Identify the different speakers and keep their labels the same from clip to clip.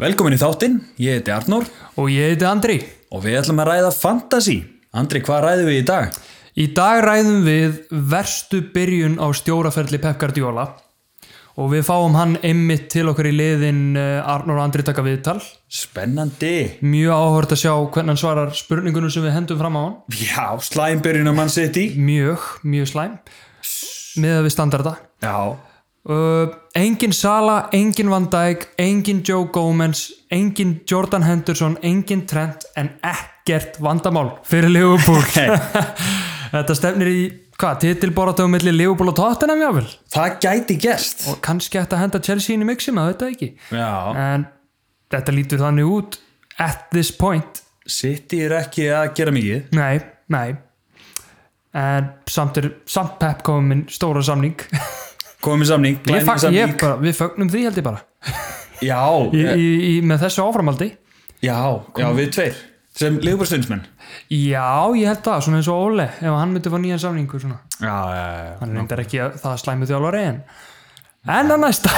Speaker 1: Velkomin í þáttinn, ég heiti Arnór
Speaker 2: Og ég heiti Andri.
Speaker 1: og við ætlum að ræða fantasy. Andri, hvað ræðum við í dag?
Speaker 2: Í dag ræðum við verstu byrjun á stjóraferli Pep Guardiola og við fáum hann einmitt til okkar í liðin Arnur og Andri taka viðtal.
Speaker 1: Spennandi.
Speaker 2: Mjög áhört að sjá hvernig hann svarar spurningunum sem við hendum fram á hann.
Speaker 1: Já, slæmbyrjun á mann sitt í.
Speaker 2: Mjög, mjög slæm með að við standarda.
Speaker 1: Já.
Speaker 2: Uh, engin Sala, engin Van Dijk, engin Joe Gomez, engin Jordan Henderson, engin Trent en ekkert vandamál fyrir Liverpool.
Speaker 1: Hey,
Speaker 2: Þetta stefnir í, hvað, titilboratöfum milli Liverpool og Tottenham jáfnvel
Speaker 1: það gæti gerst.
Speaker 2: og kannski ætti að henda Chelsea inn í mixi maður veit það ekki
Speaker 1: Já.
Speaker 2: en þetta lítur þannig út at this point
Speaker 1: Sitt er ekki að gera mikið.
Speaker 2: nei, nei en samt er samt Pep komin stóra samning
Speaker 1: Komið samning,
Speaker 2: ég,
Speaker 1: glænum
Speaker 2: fag, ég
Speaker 1: samning.
Speaker 2: bara, við fögnum því held ég bara
Speaker 1: Já,
Speaker 2: í,
Speaker 1: eh,
Speaker 2: í, í, með þessu áframaldi
Speaker 1: já, já, við tveir. Sem liðbúrstundsmenn.
Speaker 2: já, ég held það, svona eins og Ole ef hann myndi fá nýjan samningu svona.
Speaker 1: Já, já, já.
Speaker 2: hann reyndar ekki að það slæmi þjálfari en en að næsta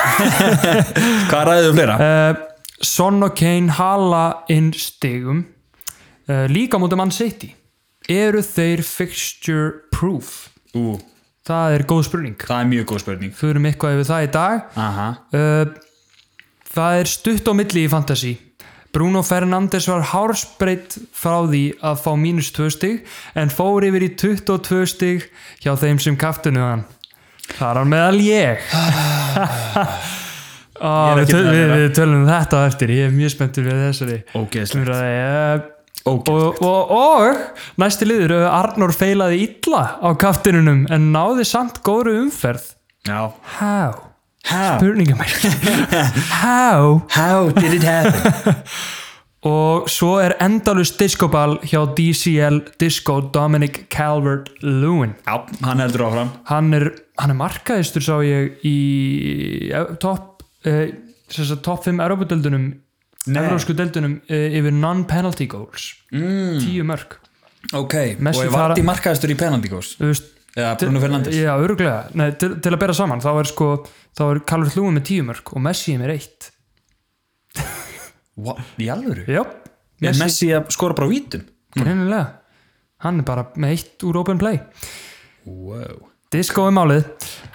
Speaker 1: Hvað ræðum við um fleira?
Speaker 2: uh, Son og Kane hala inn stigum uh, líka mútið mann City eru þeir fixture proof
Speaker 1: Ú,
Speaker 2: það er góð spurning
Speaker 1: það er mjög góð spurning.
Speaker 2: fyrir mig eitthvað yfir það í dag
Speaker 1: Aha.
Speaker 2: uh, það er stutt á milli í fantasy Bruno Fernandes var hársbreytt frá því að fá mínus 2 stig en fór yfir í 22 stig hjá þeim sem kaftunuð hann þar á meðal ég Á,
Speaker 1: Ah. Ég er
Speaker 2: við,
Speaker 1: ekki
Speaker 2: töl,
Speaker 1: með
Speaker 2: við,
Speaker 1: meira.
Speaker 2: við tölum um þetta á eftir ég er mjög spenntur við þessari
Speaker 1: Ógeðslegt.
Speaker 2: umræði uh,
Speaker 1: Ógeðslegt.
Speaker 2: og, og, og næsti liður uh, Arnór feilaði illa á kaftinunum en náði samt góru umferð
Speaker 1: Já.
Speaker 2: How?
Speaker 1: How?
Speaker 2: spurningamærk How?
Speaker 1: How did it happen?
Speaker 2: Og svo er endalus diskoball hjá DCL Disco Dominic Calvert-Lewin
Speaker 1: Já, hann heldur áfram.
Speaker 2: hann er, hann er markaðistur sá ég í eh, topp eh, sem sagt, topp 5 Európa-döldunum
Speaker 1: Nei.
Speaker 2: Európsku döldunum eh, yfir non-penalty goals mm. 10 mörg
Speaker 1: Ok, og
Speaker 2: Messi
Speaker 1: ég vart
Speaker 2: fara-
Speaker 1: í markaðastur í penalty goals
Speaker 2: Þú veist,
Speaker 1: eða Bruno Fernandes
Speaker 2: Já, öruglega, Nei, til, til að bera saman þá er sko, þá er Calvert-Lewin með 10 mörg og Messi með 1
Speaker 1: Hva? Í alvöru?
Speaker 2: Já,
Speaker 1: Er Messi að skora bara á vítum?
Speaker 2: greinilega hann er bara með 1 úr open play
Speaker 1: Wow.
Speaker 2: Disko er málið.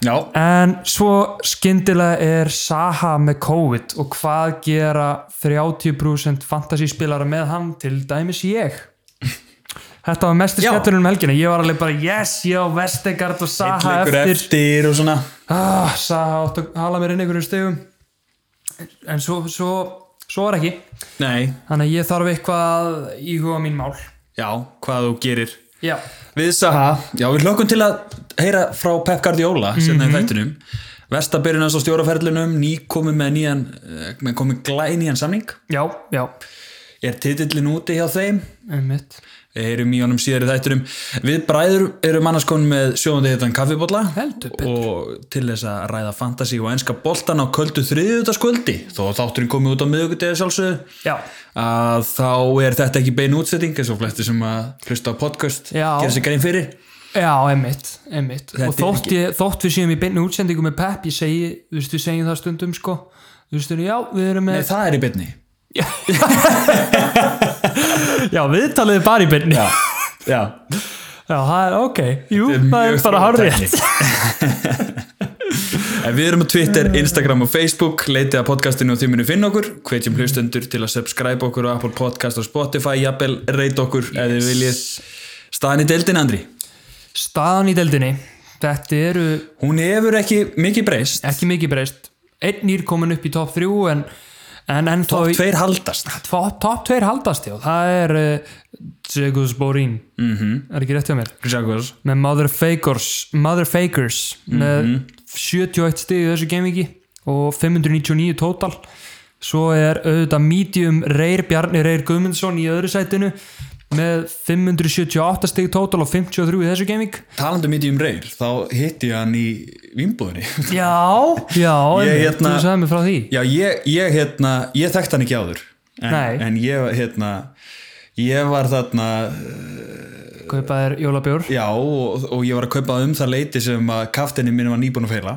Speaker 1: Já,
Speaker 2: En svo skyndilega er Saha með COVID og hvað gera 30% fantasíspilara með hann til dæmis ég? Þetta var mestu
Speaker 1: Já.
Speaker 2: sketturinn um helgina. Ég var alveg bara yes, já, Vestegard og Saha
Speaker 1: leikur
Speaker 2: eftir.
Speaker 1: eftir. og svona
Speaker 2: Ah, Saha átt að hala mér inn einhverjum stegum. En svo, svo, svo er ekki.
Speaker 1: Nei,
Speaker 2: Þannig að ég þarf eitthvað að íhuga mín mál.
Speaker 1: já, hvað þú gerir
Speaker 2: Já.
Speaker 1: Við Saha, já við hlökkum til að heyra frá Pep Guardiola sérna
Speaker 2: Mhm.
Speaker 1: í þættinum Vesta byrjun hans á stjóraferðlunum ný komið með nýjan eh, með komið glænýjan samning
Speaker 2: Já, já.
Speaker 1: Er titillin úti hjá þeim?
Speaker 2: Einmitt.
Speaker 1: erum í honum síðar í þættinum við bræður erum annars komin með sjóðandi hittan kaffibólla
Speaker 2: Heldur betur.
Speaker 1: og til þess að ræða fantasy og enska boltan á köldu þriðutaskvöldi þó að þátturinn komið út á miðugudegi sjálfsögðu
Speaker 2: Já.
Speaker 1: að þá er þetta ekki bein útsetting eins og flesti sem að hlusta á podcast
Speaker 2: Já.
Speaker 1: gera sér grein fyrir
Speaker 2: Já, einmitt, einmitt.
Speaker 1: Þetta
Speaker 2: og
Speaker 1: er
Speaker 2: þótt,
Speaker 1: ekki-
Speaker 2: ég, þótt við séum í beinni útsendingu með Pep, ég segi, þú veist, við segjum það stundum sko, þú veist, já, við erum
Speaker 1: Nei,
Speaker 2: með
Speaker 1: það er í beinni
Speaker 2: Já, við talaðum bara í beinni Já,
Speaker 1: Já,
Speaker 2: það er, ok, jú,
Speaker 1: Þetta er
Speaker 2: það
Speaker 1: mjög
Speaker 2: er bara
Speaker 1: þróun
Speaker 2: hárið
Speaker 1: en við erum á Twitter, Instagram og Facebook leitið að podcastinu og þið munu finna okkur hvetjum hlustendur til að subscribe okkur á Apple Podcast og Spotify, jafnvel reyta okkur yes. ef þið viljið staðan í deildin Andri
Speaker 2: Staðan í deldinni, þetta eru
Speaker 1: Hún hefur ekki mikið breyst
Speaker 2: ekki mikið breyst Einn nýr komin upp í top 3 en, en, en
Speaker 1: og tveir haldast
Speaker 2: top, top 2 haldast, já, það er uh, Segus Borín mm -hmm.
Speaker 1: Mhm.
Speaker 2: Er ekki rétt hjá mér?
Speaker 1: Sjákvæðs
Speaker 2: með Mother Fakers, Mother Fakers með
Speaker 1: Mhm.
Speaker 2: 71 stig í þessu gamingi og 599 total svo er auðvitað medium Reyr Bjarni Reyr Guðmundsson í öðru sætinu með 578 stig total og 53 í þessu gaming
Speaker 1: Talandi mítið um reyr, þá hitti ég hann í vimbúðinni
Speaker 2: já, já,
Speaker 1: Ég
Speaker 2: einmitt,
Speaker 1: hérna-
Speaker 2: þú sagði mig frá því
Speaker 1: Já, ég, ég, hérna, ég þekkt hann ekki áður En,
Speaker 2: Nei.
Speaker 1: en ég, hérna, ég var þarna
Speaker 2: kaupaðir jólabjór
Speaker 1: Já, og, og ég var að kaupa um það leiti sem að kaftinni minn var nýbúin að feila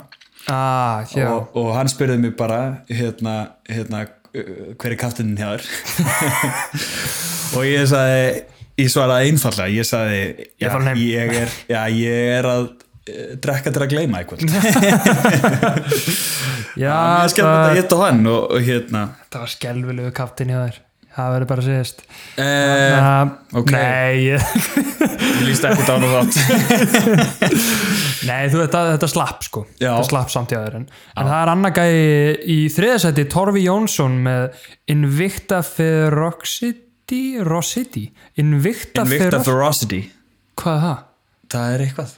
Speaker 2: ah, já,
Speaker 1: og, og hann spurði mig bara hérna, hérna "Uh, hver er kaftinin hjá þér og ég sagði ég svaraði einfallega, ég sagði já,
Speaker 2: Ég fór heim."
Speaker 1: ég, er, já, ég er að eh, drekka til að gleyma eitthvað ég
Speaker 2: Já,
Speaker 1: skemmt að þetta hitt á hann og, og hérna
Speaker 2: þetta var skelvilegu kaptinn hjá þér Það verður bara að segjast
Speaker 1: eh,
Speaker 2: uh,
Speaker 1: ok.
Speaker 2: Nei, ég-
Speaker 1: ég líst ekkert á hann og þátt
Speaker 2: nei þú, þetta, þetta slapp sko
Speaker 1: Já.
Speaker 2: Þetta slapp samt hjá þér En, en það er annar gæði í þriðasæti Torfi Jónsson með Invicta Ferocity Rossity Invicta,
Speaker 1: Invicta
Speaker 2: Ferocity
Speaker 1: Ferocity
Speaker 2: Hvað er það?
Speaker 1: það er eitthvað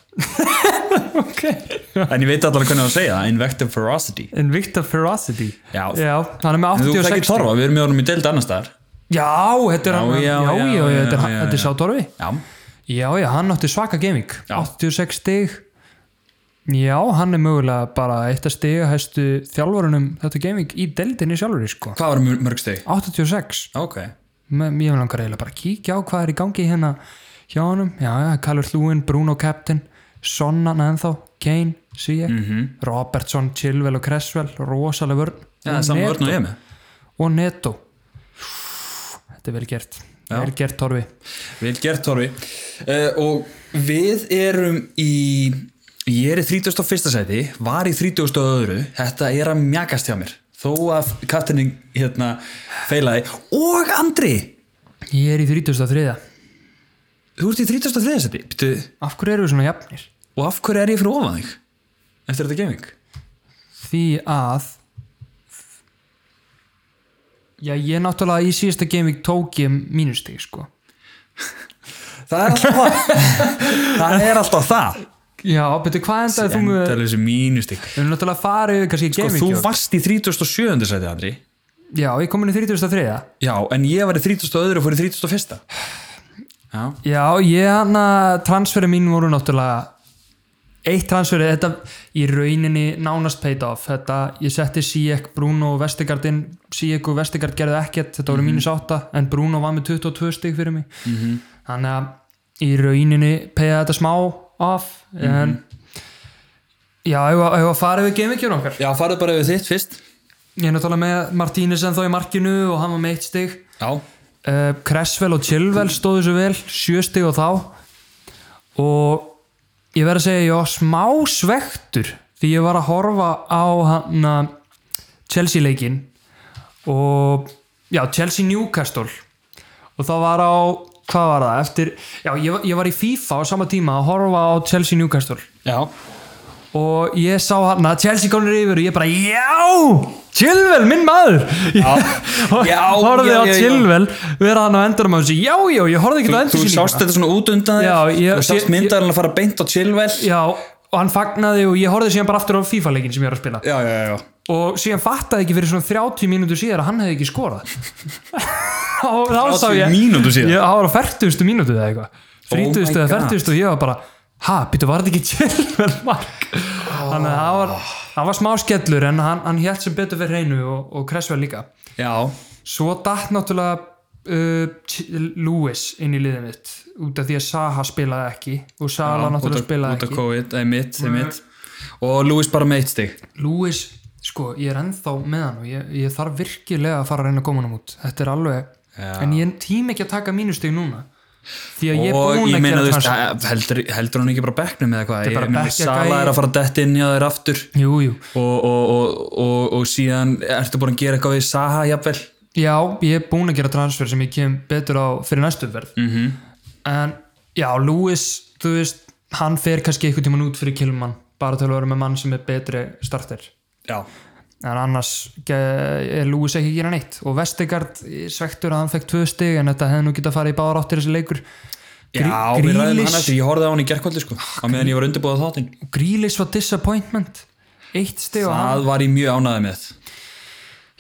Speaker 2: Okay.
Speaker 1: en ég veit allan hvernig á að segja það, Invicta Ferocity
Speaker 2: Invicta Ferocity
Speaker 1: Já.
Speaker 2: hann er með
Speaker 1: en þú
Speaker 2: 86
Speaker 1: þekkir Torfa, við erum með honum í deild annar staðar
Speaker 2: Já, þetta er
Speaker 1: Já,
Speaker 2: hann, já,
Speaker 1: já,
Speaker 2: já,
Speaker 1: já,
Speaker 2: já, þetta er
Speaker 1: já,
Speaker 2: hann-
Speaker 1: já,
Speaker 2: þetta er
Speaker 1: já.
Speaker 2: sá Torfi
Speaker 1: já,
Speaker 2: Já, já, hann átti svaka gaming
Speaker 1: Já.
Speaker 2: 86 stig Já, hann er mögulega bara eitt að stiga hæstu þjálfurunum þetta gaming í deildinni sjálfur sko.
Speaker 1: hvað var mörg steg?
Speaker 2: 86
Speaker 1: ok,
Speaker 2: Me- Mér langar eiginlega bara að kíkja á hvað er í gangi hérna hjá honum Já, já, Kallur Hlúin, Bruno Captain Sonnan ennþá, Kane, Sijek
Speaker 1: Mhm.
Speaker 2: Robertson, Chilwell og Cresswell rosalega vörn
Speaker 1: það er saman vörn og ég með
Speaker 2: og Neto Þetta er vel gert
Speaker 1: Já.
Speaker 2: vel gert Torfi
Speaker 1: Vel gert Torfi uh, og við erum í ég er í 31. sæti var í 32. þetta er að mjakast hjá mér þó að kattinning hérna feilaði og Andri
Speaker 2: Ég er í 33
Speaker 1: þú ert í 33. sæti Bittu,
Speaker 2: Af hverju eru við svona jafnir?
Speaker 1: og af hverju er ég fyrir ofan þig eftir þetta gaming
Speaker 2: Því að Já, ég náttúrulega í síðasta gaming tók ég mínustig sko
Speaker 1: það er alltaf það er alltaf það
Speaker 2: Já, betur hvað endaði þú með
Speaker 1: endalösi mínustík
Speaker 2: Við erum náttúrulega farið yfir kannski
Speaker 1: og
Speaker 2: gaming
Speaker 1: Sko, þú
Speaker 2: hjá-
Speaker 1: varst í 37. sæti Andri
Speaker 2: Já, ég kom inn í 33
Speaker 1: já en ég var í 32. og fór í 31. já
Speaker 2: Já, ég hann að transferi mín voru náttúrulega eitt transferi, þetta í rauninni nánast paid off, þetta ég setti Sijek, Bruno og Vestigard inn Sijek og Vestigard gerðu ekkert, þetta voru mínus 8 en Bruno var með 22 stig fyrir mig þannig að í rauninni payða þetta smá off en já, hefur að, að fara við gamingjur okkar
Speaker 1: já farðu bara yfir þitt fyrst
Speaker 2: ég er náttúrulega með Martínez en þó í markinu og hann var með eitt stig
Speaker 1: Já,
Speaker 2: uh, Cresswell og Chilwell stóðu svo vel sjö stig og þá og ég verð að segja ég var smá svektur því ég var að horfa á hann Chelsea leikin og já, Chelsea Newcastle og það var á hvað var það, eftir, já, ég, var- ég var í FIFA á sama tíma að horfa á Chelsea Newcastle
Speaker 1: já,
Speaker 2: og ég sá hann að Chelsea konur yfir og ég bara já, Chilwell, minn maður og
Speaker 1: Já, já,
Speaker 2: horfði á
Speaker 1: já, já.
Speaker 2: Chilwell vera hann á endurum á þessu, já, já, ég horfði ekki
Speaker 1: þú,
Speaker 2: á
Speaker 1: þú
Speaker 2: endursýninguna
Speaker 1: sást þetta svona út undan
Speaker 2: Já,
Speaker 1: þér
Speaker 2: ég-
Speaker 1: Þú sást
Speaker 2: ég-
Speaker 1: myndarinn að fara beint á chillvel
Speaker 2: já, og hann fagnaði og ég horfði síðan bara aftur á FIFA-leikin sem ég var að spila
Speaker 1: Já, já, já
Speaker 2: og síðan fattaði ekki fyrir svona 30 mínútur síðar að hann hefði ekki skorað og þá sá ég
Speaker 1: mínútu
Speaker 2: ég það var á 40. mínútu eða eitthvað 30.
Speaker 1: my
Speaker 2: eða
Speaker 1: God.
Speaker 2: 40. og ég var bara ha, býttu, var þetta ekki Chilwell mark þannig að það var, það var smá skellur en hann, hann hélt sem betur fyrir hreinu og, og Cresswell líka
Speaker 1: Já,
Speaker 2: svo datt náttúrulega uh, Ch- Lewis inn í liðið mitt út af því að Saha spilaði ekki og Sala
Speaker 1: út
Speaker 2: náttúrulega
Speaker 1: af-
Speaker 2: spilaði
Speaker 1: út af
Speaker 2: ekki
Speaker 1: COVID, einmitt, einmitt Og Lewis bara með eitt stig
Speaker 2: Lewis, sko, ég er ennþá með hann og ég, ég þarf virkilega að fara að reyna að koma hann út þetta er alveg,
Speaker 1: Já.
Speaker 2: en ég tími ekki að taka mínustig núna því að ég er
Speaker 1: Og
Speaker 2: búin
Speaker 1: ég
Speaker 2: að
Speaker 1: meina,
Speaker 2: gera
Speaker 1: þú veist,
Speaker 2: transfer.
Speaker 1: það- heldur, heldur hann ekki bara á bekknum eða hvað
Speaker 2: er bara
Speaker 1: Ég meina,
Speaker 2: bekkja
Speaker 1: Sala
Speaker 2: gæi.
Speaker 1: er að fara dett inn hjá þér aftur
Speaker 2: jú, jú,
Speaker 1: og, og, og, og, og síðan ertu búin að gera eitthvað við Saha, jafnvel
Speaker 2: Já, ég er búinn að gera transfer sem ég kem betur á fyrir næstu verð -hmm.
Speaker 1: Mhm.
Speaker 2: en já, Lewis þú veist, hann fer kannski einhvern tíman út fyrir Kilman, bara til að vera með mann sem er betri starter,
Speaker 1: Já,
Speaker 2: en annars ge- er Lewis ekki að gera neitt og Vestegard svektur að hann fekk tvö stig en þetta hefði nú getað að fara í báðar áttir þessi leikur
Speaker 1: já við ræðum hann eftir, ég horfði á hann í gerkvöldi sko á meðan ég var undirbúið á þáttinn
Speaker 2: Grílis var disappointment eitt stig og hann
Speaker 1: Það var ég mjög ánæði með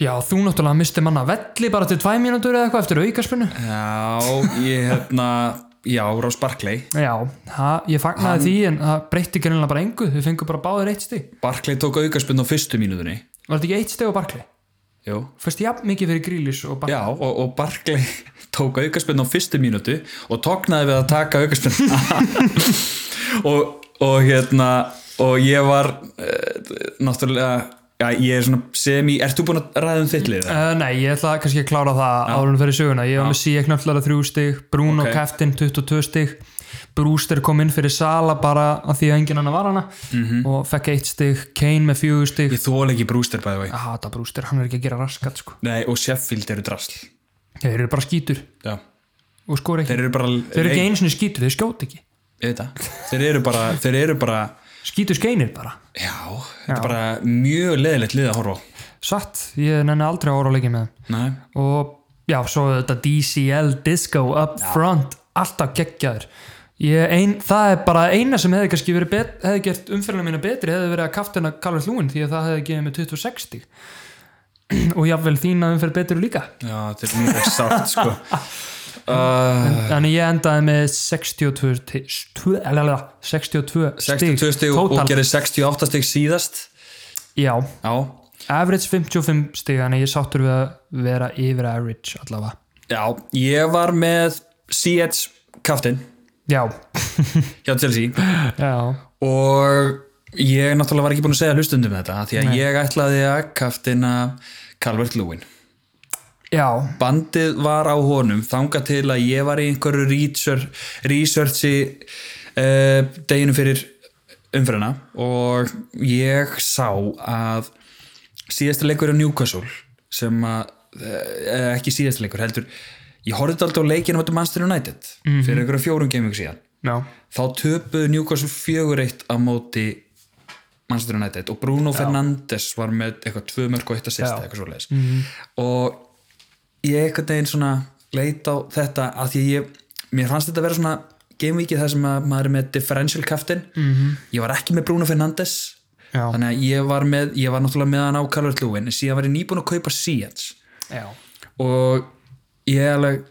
Speaker 2: já, þú náttúrulega misti manna velli bara til tvæ mínútur eða eitthvað eftir aukaspinu
Speaker 1: Já, ég hérna Já, Rós Barkley
Speaker 2: Já, það, ég fagnaði því en það breytti greinlega bara engu, við fengum bara báðir eitt stig.
Speaker 1: Barkley tók aukarspinn á fyrstu mínútunni
Speaker 2: Var þetta ekki eitt stig á Barkley?
Speaker 1: Jú.
Speaker 2: Fyrst jafn mikið fyrir Grílis og Barkley.
Speaker 1: Já, og, og Barkley tók aukarspinn á fyrstu mínútu og tóknaði við að taka aukarspinn og, og hérna og ég var eh, náttúrulega Já, ég er svona semi, ert þú búin að ræða um þitt lið? eða?
Speaker 2: Uh, nei, ég ætla kannski að klára það ja. árunum fyrir söguna. Ég var með Sijek náttúrulega þrjú stig, Bruno
Speaker 1: Ok.
Speaker 2: okay. Keftin 22 stig, Brewster kom inn fyrir Sala bara að því að enginn annar var hana og fekk eitt stig, Kane með fjögur stig.
Speaker 1: Mhm. Ég þól ekki brúster bæði vei.
Speaker 2: Ég hata Brewster, hann er ekki að gera raskat sko.
Speaker 1: Nei, og Sheffield eru drasl.
Speaker 2: Þeir eru bara skítur
Speaker 1: Já.
Speaker 2: og skor ekki.
Speaker 1: Þeir
Speaker 2: Þeir,
Speaker 1: eru bara...
Speaker 2: eru ekki
Speaker 1: Nei,
Speaker 2: einu sinni skítur, þeir skjóta ekki.
Speaker 1: ég veit það. Þeir eru bara, þeir eru bara,
Speaker 2: Skítur skeinir bara.
Speaker 1: já, þetta er bara mjög leðilegt lið að horfa á.
Speaker 2: Satt, ég nenni aldrei að ára leikið með þeim.
Speaker 1: Nei.
Speaker 2: og já, svo þetta DCL Disco up front alltaf geggjaður Ég ein, það er bara eina sem hefði kannski verið bet, hefði gert umfyrirna mína betri hefði verið að kaftina Karl Hlúin því að það hefði gefið mig 2060 og jáfnvel þína umfyrir betri líka
Speaker 1: Já, þetta er mjög sátt, sko. Uh,
Speaker 2: þannig ég endaði með 62 ti- stu- lalalala, 62 stig
Speaker 1: 62 stig og, og
Speaker 2: total.
Speaker 1: gerir 68 stig síðast.
Speaker 2: já,
Speaker 1: Já.
Speaker 2: average 55 stig þannig ég sáttur við að vera yfir average allavega
Speaker 1: Já, ég var með C.H. Kaftin
Speaker 2: já,
Speaker 1: hjá Chelsea.
Speaker 2: já
Speaker 1: og ég náttúrulega var ekki búin að segja hlustundum þetta af því að ég ætlaði að kaftina Calvert Lewin
Speaker 2: já,
Speaker 1: bandið var á honum þanga til að ég var í einhverju research, researchi uh, deginu fyrir umfyrirna og ég sá að síðasta leikur á Newcastle sem að, uh, ekki síðasta leikur heldur, ég horfði alltaf á leikinu á móti Manchester United fyrir einhverju fjórum gaming síðan
Speaker 2: já
Speaker 1: þá töpuðu Newcastle 4-1 á móti Manchester United og Bruno Fernandes var með eitthvað tvö mörg og eitt að sista
Speaker 2: Já. Mhm.
Speaker 1: eitthvað svo og ég eitthvað neginn svona leit á þetta að því að ég, mér fannst þetta að vera svona gamevikið þar sem að maður er með differential kaftin, -hmm. ég var ekki með Bruno Fernandes
Speaker 2: Mhm. Já.
Speaker 1: þannig að ég var með ég var náttúrulega með hann á Calvert Lúin en síðan var ég nýbúin að kaupa Seats
Speaker 2: Já,
Speaker 1: og ég alveg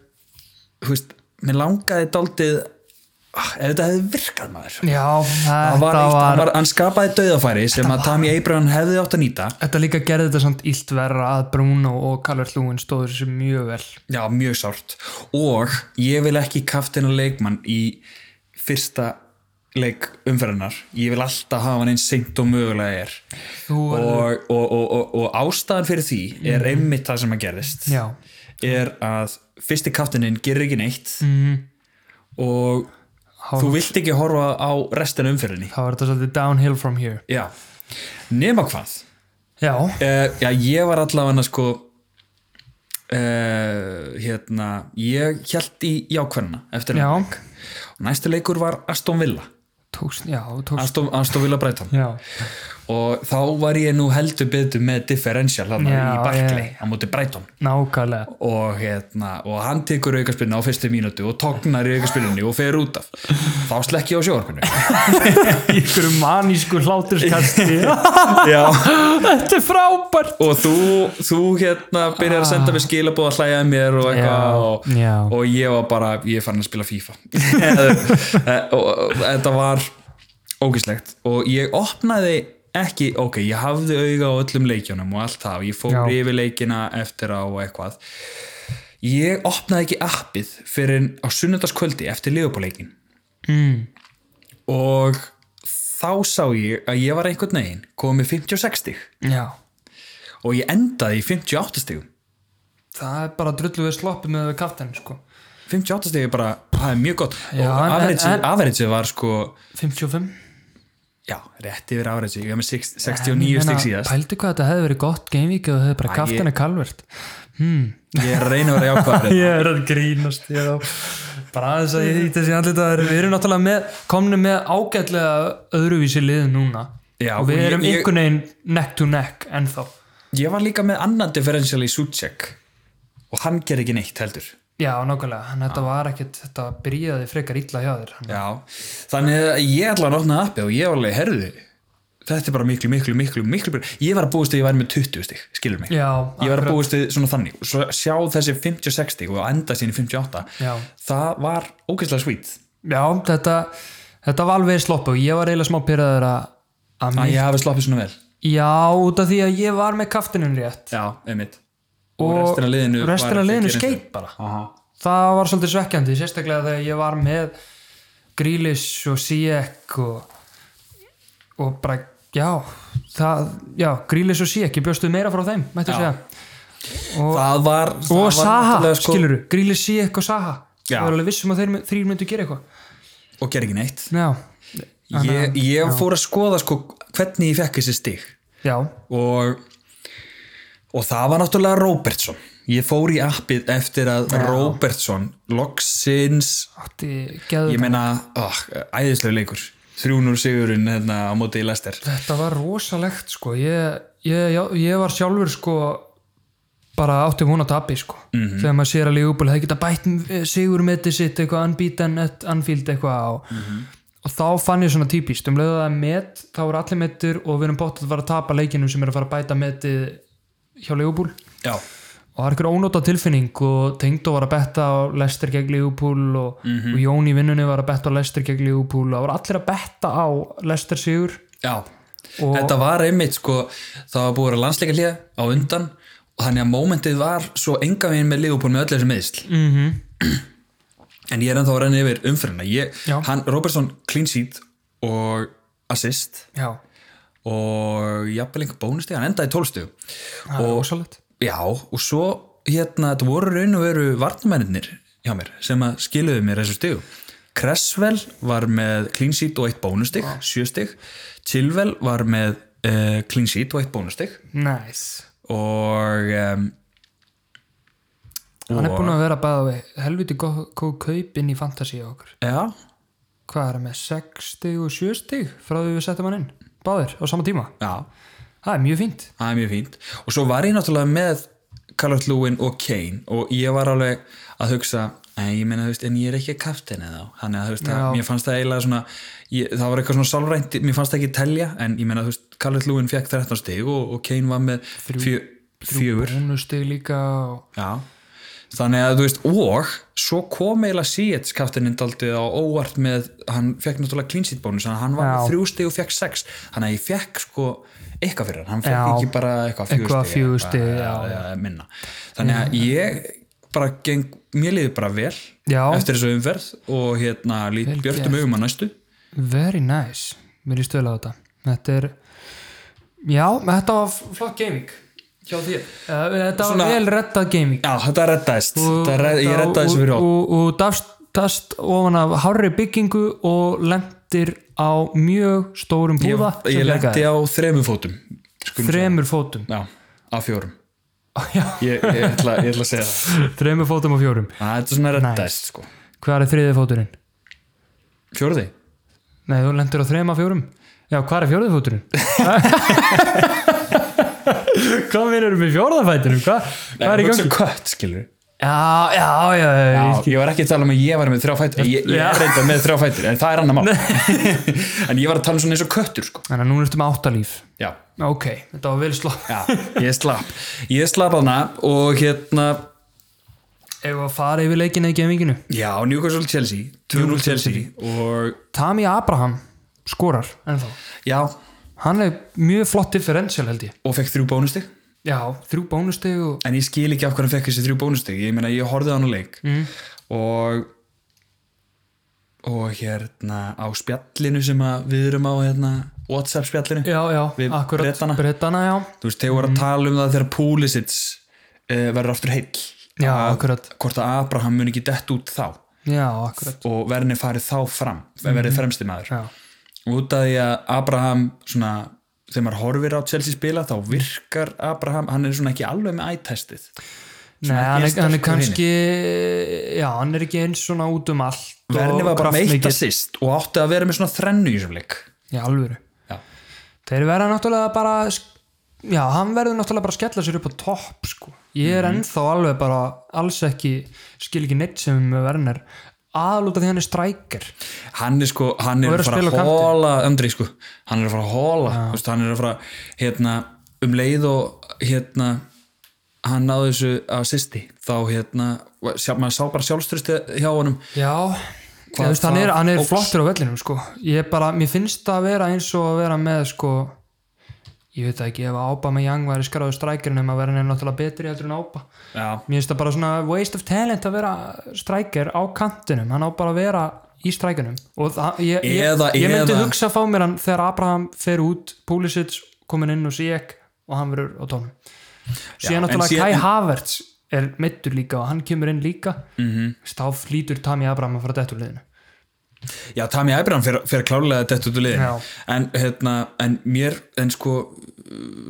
Speaker 1: þú veist, mér langaði daldið ef þetta hefði virkað maður
Speaker 2: já þetta
Speaker 1: Það
Speaker 2: var,
Speaker 1: var eitt, hann, var, hann skapaði dauðafæri sem að Tami Abraham hefði átt að nýta
Speaker 2: Þetta líka gerði þetta samt illt verra að Bruno og Calvert Lúin stóður þessu mjög vel
Speaker 1: já, mjög sárt og ég vil ekki kaftina leikmann í fyrsta leik umferðinar ég vil alltaf hafa hann eins seint og mögulega er
Speaker 2: Þú
Speaker 1: og,
Speaker 2: verður- Mhm.
Speaker 1: og, og, og, og ástæðan fyrir því er einmitt það sem að gerðist
Speaker 2: Já,
Speaker 1: er að fyrsti kaftininn gerir ekki neitt mm.
Speaker 2: Mhm.
Speaker 1: og
Speaker 2: Hálf-
Speaker 1: þú vilt ekki horfa á restina umferðinni
Speaker 2: þá var þetta svolítið downhill from here
Speaker 1: já, nema hvað
Speaker 2: Já,
Speaker 1: Uh, já, ég var allavega sko uh, hérna ég held í jákvæðina eftir
Speaker 2: já,
Speaker 1: hann. og næstu leikur var Aston Villa
Speaker 2: tókst, já, tókst
Speaker 1: Aston, Aston Villa Brighton
Speaker 2: Já,
Speaker 1: og þá var ég nú heldur betur með differential þarna
Speaker 2: Já,
Speaker 1: í Barclay á móti Brighton
Speaker 2: nákvæmlega
Speaker 1: og, hérna, og hann tekur aukaspilinu á fyrstu mínútu og tognar í aukaspilinu og fer út af þá slekk ég á sjóarpinu
Speaker 2: Í ykkur manísku hláturskasti
Speaker 1: já
Speaker 2: Þetta er frábært
Speaker 1: og þú, þú hérna byrjar að senda mér skilabóð að hlæja að mér og
Speaker 2: Ah. Já,
Speaker 1: eitthvað og,
Speaker 2: já.
Speaker 1: og ég var bara, ég er farin að spila FIFA Eh, og og þetta var ógislegt og ég opnaði ekki, ok, ég hafði auga á öllum leikjunum og allt það, ég fór
Speaker 2: Já.
Speaker 1: yfir leikina eftir á og eitthvað ég opnaði ekki appið fyrir á sunnundaskvöldi eftir liðupáleikin mm. og þá sá ég að ég var einhvern veginn komið 56 stig
Speaker 2: Já,
Speaker 1: og ég endaði í 58 stigum
Speaker 2: það er bara drullu við sloppið með kaftan sko
Speaker 1: 58 stig er bara, það er mjög gott
Speaker 2: Já, en- en-
Speaker 1: og average var sko
Speaker 2: 55
Speaker 1: já, rétt yfir average, ég var með 6,
Speaker 2: En ég
Speaker 1: 69
Speaker 2: meina,
Speaker 1: stig síðast
Speaker 2: Pældu hvað þetta hefði verið gott gamevíkið og hefði bara kaftan að Calvert
Speaker 1: ég er að reyna að vera jákvæður hérna.
Speaker 2: ég er að grínast ég er á bara aðeins að ég hýtti þessi andlita við erum náttúrulega með, komni með ágætlega öðruvísi lið núna
Speaker 1: Já,
Speaker 2: og við
Speaker 1: og ég-
Speaker 2: erum
Speaker 1: ég-
Speaker 2: einhvern veginn neck to neck ennþá
Speaker 1: ég var líka með annan differential í Suchek og hann ger ekki neitt heldur
Speaker 2: já, nákvæmlega, hann þetta var ekkit þetta byrjaði frekar illa hjá þér hann.
Speaker 1: já, þannig að ég ætla að opna appið og ég var alveg, herðu þetta er bara miklu, miklu, miklu, miklu betra. ég var að búist að ég væri með 20 stig, skilur mig
Speaker 2: já,
Speaker 1: ég var að
Speaker 2: akkurat.
Speaker 1: búist við svona þannig og svo sjá þessi 56 stig og enda sín í 58
Speaker 2: Já.
Speaker 1: það var ógeðslega svít
Speaker 2: já, þetta, þetta var alveg slopp og ég var eiginlega smá pyrraður að að
Speaker 1: að
Speaker 2: mér,
Speaker 1: ég hafi sloppið svona vel
Speaker 2: já, út af því að ég var með kaftinum rétt
Speaker 1: já, einmitt
Speaker 2: Og
Speaker 1: restina af liðinu var
Speaker 2: restin af
Speaker 1: ekki
Speaker 2: liðinu
Speaker 1: eins og-
Speaker 2: skeit bara
Speaker 1: Aha.
Speaker 2: það var svolítið svekkjandi sérstaklega þegar ég var með Grealish og Sijek og, og bara, já það, já, Grílis og Sjík ég bjóstu meira frá þeim, mættu
Speaker 1: Já.
Speaker 2: segja og,
Speaker 1: það var það
Speaker 2: og
Speaker 1: var
Speaker 2: Saha,
Speaker 1: náttúrulega,
Speaker 2: sko... skilur du Grílis, Sjík og Saha
Speaker 1: Já.
Speaker 2: ég var alveg vissum að þeir mun- þrír myndu gera eitthvað
Speaker 1: og ger ekki neitt
Speaker 2: já,
Speaker 1: ég, ég fór að skoða sko, hvernig ég fekk þessi stig
Speaker 2: já,
Speaker 1: og, og það var náttúrulega Robertson ég fór í appið eftir að Robertson loksins
Speaker 2: átti geðu
Speaker 1: ég meina, oh, æðislega leikur 300 sigurinn hérna á móti í Lester
Speaker 2: Þetta var rosalegt sko ég, ég, já, ég var sjálfur sko bara átti hún að tapi sko þegar maður sér að Leopold hefði geta bætt eh, sigur með þetta sitt eitthvað unbeaten at Anfield eitthvað og, og þá fann ég svona típist um leiðu að það er met þá voru allir metur og við erum bótt að fara að tapa leikinum sem er að fara að bæta metið hjá Leopold
Speaker 1: já,
Speaker 2: og það er einhver ónóta tilfinning og Tengdó var að betta á Lester gegn Leopold og, og Jón í vinnunni var að betta á Lester gegn Leopold og það voru allir að betta á Lester sigur
Speaker 1: já
Speaker 2: Og-
Speaker 1: þetta var einmitt sko það var búið að vera landsleika hlýja á undan og þannig að mómentið var svo enga veginn með Liverpool með öll þessi meðsl
Speaker 2: mm
Speaker 1: en ég er ennþá að renna yfir umfyrirna ég,
Speaker 2: Já.
Speaker 1: hann, Robertson clean sheet og assist
Speaker 2: Já,
Speaker 1: og jafnvel einhver bónusti, hann endaði tólstu
Speaker 2: það er ósalett
Speaker 1: já, og svo hérna, þetta voru raun og veru varnamennir hjá mér, sem að skiluðu mér þessu stigu Cresswell var með clean sheet og eitt bónustig, sjö stig Chilwell var með uh, clean sheet og eitt bónustig
Speaker 2: Nice.
Speaker 1: og um,
Speaker 2: Hann er búinn að vera bæða við helviti gó- góð kaup inn í fantasíu okkur.
Speaker 1: já,
Speaker 2: Hvað er hann með 6 stig og 7 stig frá því við settum hann inn? Báðir á sama tíma.
Speaker 1: já,
Speaker 2: Það er mjög fínt.
Speaker 1: það er mjög fínt og svo var ég náttúrulega með Callum Lewin og Kane og ég var alveg að hugsa en ég meina, þú veist, en ég er ekki kaftin eða þannig að, þú veist, að,
Speaker 2: Já.
Speaker 1: mér fannst það eiginlega svona ég, það var eitthvað svona sálrænt, mér fannst það ekki telja en ég meina, þú veist, Callum Lewin fekk 13 stig og, og Kane var með fjö, fjögur
Speaker 2: Bónustig líka og...
Speaker 1: já. þannig að, þú veist, og svo kom eiginlega Seeds kaftininn daldið á óvart með, hann fekk náttúrulega clean sheet bónus, þannig að hann var
Speaker 2: Já.
Speaker 1: með þrjú stig og fekk sex, þannig að ég fekk sko eitthvað fyrir hann, hann fekk
Speaker 2: Já.
Speaker 1: ekki bara eitthvað
Speaker 2: Eitthvað fjögur stig, já,
Speaker 1: eða minna þannig að ég bara geng, mér liði bara vel
Speaker 2: Já.
Speaker 1: eftir þessu umferð og hérna lít
Speaker 2: Vel
Speaker 1: björtum augum að næstu
Speaker 2: Very nice. Mér er stöðlega þetta. Þetta er... Já, þetta var flott gaming. Hjá þér. Eh, Þetta var
Speaker 1: Svona-
Speaker 2: vel rettað gaming.
Speaker 1: já þetta reddaðist,
Speaker 2: Og-
Speaker 1: þetta redd, ég reddaði þessu fyrir
Speaker 2: og,
Speaker 1: hótt
Speaker 2: og, og dast, dast ofan af hárri byggingu og lendir á mjög stórum
Speaker 1: ég,
Speaker 2: búða sem
Speaker 1: ég lendi
Speaker 2: bjargaði.
Speaker 1: á þremur fótum skulum segja.
Speaker 2: þremur fótum
Speaker 1: já, á fjórum
Speaker 2: Já,
Speaker 1: ég, ég, ætla, ég ætla að segja það
Speaker 2: þremur fótum og fjórum
Speaker 1: Að þetta er svona reddaðist sko
Speaker 2: hvað er þriði fóturinn?
Speaker 1: fjórði,
Speaker 2: nei, þú lendir á þrema fjórum já, hvað er fjórði fóturinn? hvað minn erum við fjórðafætinum? Hvað, hvað er í gangi?
Speaker 1: kött skilur
Speaker 2: já, já, já, já, já.
Speaker 1: Já, ég var ekki að tala um að ég var með þrjá fætur ég, ég er
Speaker 2: Já.
Speaker 1: reynda með þrjá fætur, en það er annar mál en ég var að tala um svona eins og köttur sko.
Speaker 2: þannig að núna ertum áttalíf
Speaker 1: já,
Speaker 2: ok, þetta var vel slá
Speaker 1: Já, ég slapp Ég slapp hana og hérna
Speaker 2: ef að fara yfir leikina í geminginu
Speaker 1: Já, Newcastle Chelsea 2-0 Chelsea og
Speaker 2: Tami Abraham skorar ennþá.
Speaker 1: já,
Speaker 2: hann er mjög flott differential held ég
Speaker 1: og fekk þrjú bónustig
Speaker 2: já, þrjú bónusteg og
Speaker 1: en ég skil ekki af hvernig fekk þessi þrjú bónustig ég meina, ég horfði á hann á leik
Speaker 2: Mhm.
Speaker 1: mm. og og hérna á spjallinu sem að við erum á hérna, Whatsapp spjallinu
Speaker 2: já, Mhm. já,
Speaker 1: Við
Speaker 2: akkurat,
Speaker 1: Bretana.
Speaker 2: já
Speaker 1: þú veist, þegar voru að tala um það þegar Púlisits uh, verður aftur heill
Speaker 2: já,
Speaker 1: Að-
Speaker 2: akkurat,
Speaker 1: hvort að Abraham mun ekki dett út þá
Speaker 2: já, akkurat
Speaker 1: og verðinni farið þá fram verðið fremsti maður
Speaker 2: Mhm. já,
Speaker 1: út af því að Abraham svona, þegar maður horfir á Chelsea spila þá virkar Abraham, hann er svona ekki alveg með ættestið
Speaker 2: Nei, hann, er,
Speaker 1: ekki
Speaker 2: hann er
Speaker 1: sterkur
Speaker 2: kannski já, hann er ekki eins svona út um allt
Speaker 1: verðinni var bara meitt
Speaker 2: kraftmikill.
Speaker 1: að sýst og átti að vera með svona þrennu í þessum leik
Speaker 2: já, alvöru
Speaker 1: já,
Speaker 2: þeir verða náttúrulega bara já, hann verður náttúrulega bara að skella sér upp á topp sko. ég er
Speaker 1: Mhm.
Speaker 2: ennþá alveg bara alls ekki, skil ekki neitt sem verðin er aðlúta því hann er strækir
Speaker 1: hann er sko hann
Speaker 2: Og
Speaker 1: er
Speaker 2: er
Speaker 1: að
Speaker 2: að
Speaker 1: fara
Speaker 2: spila á
Speaker 1: að
Speaker 2: kanti.
Speaker 1: hóla Andri sko, hann er að fara að hóla þú veist, hann er að fara hérna um leið og hérna hann náði þessu að sýsti þá hérna, sjá, maður sá bara sjálfstyrsti hjá honum
Speaker 2: Já,
Speaker 1: Hvað-
Speaker 2: Hvað, veist, hann
Speaker 1: hvað
Speaker 2: er, hann er
Speaker 1: óx?
Speaker 2: flottur á vellinum sko. ég bara, mér finnst það að vera eins og að vera með sko ég veit það ekki, ef Ábama Young væri skráður strækir nema verðin er náttúrulega betri heldur en Ába
Speaker 1: já,
Speaker 2: mér finnst það bara svona waste of talent að vera strækir á kantinum hann á bara að vera í strækinum og það, ég, ég,
Speaker 1: Eða-
Speaker 2: ég myndi
Speaker 1: eða-
Speaker 2: hugsa að fá mér hann þegar Abraham fer út, Pulisic komin inn og Sieg og hann verður á tónum
Speaker 1: en
Speaker 2: síðan náttúrulega
Speaker 1: síðan-
Speaker 2: Kai Havertz er mittur líka og hann kemur inn líka mm
Speaker 1: Mhm.
Speaker 2: -hmm. þá flýtur Tami Abraham að fara dættu liðinu
Speaker 1: Já, Tami Æbram fyrir klárlega þetta út úr liðin
Speaker 2: Já.
Speaker 1: en, hérna, en mér, en sko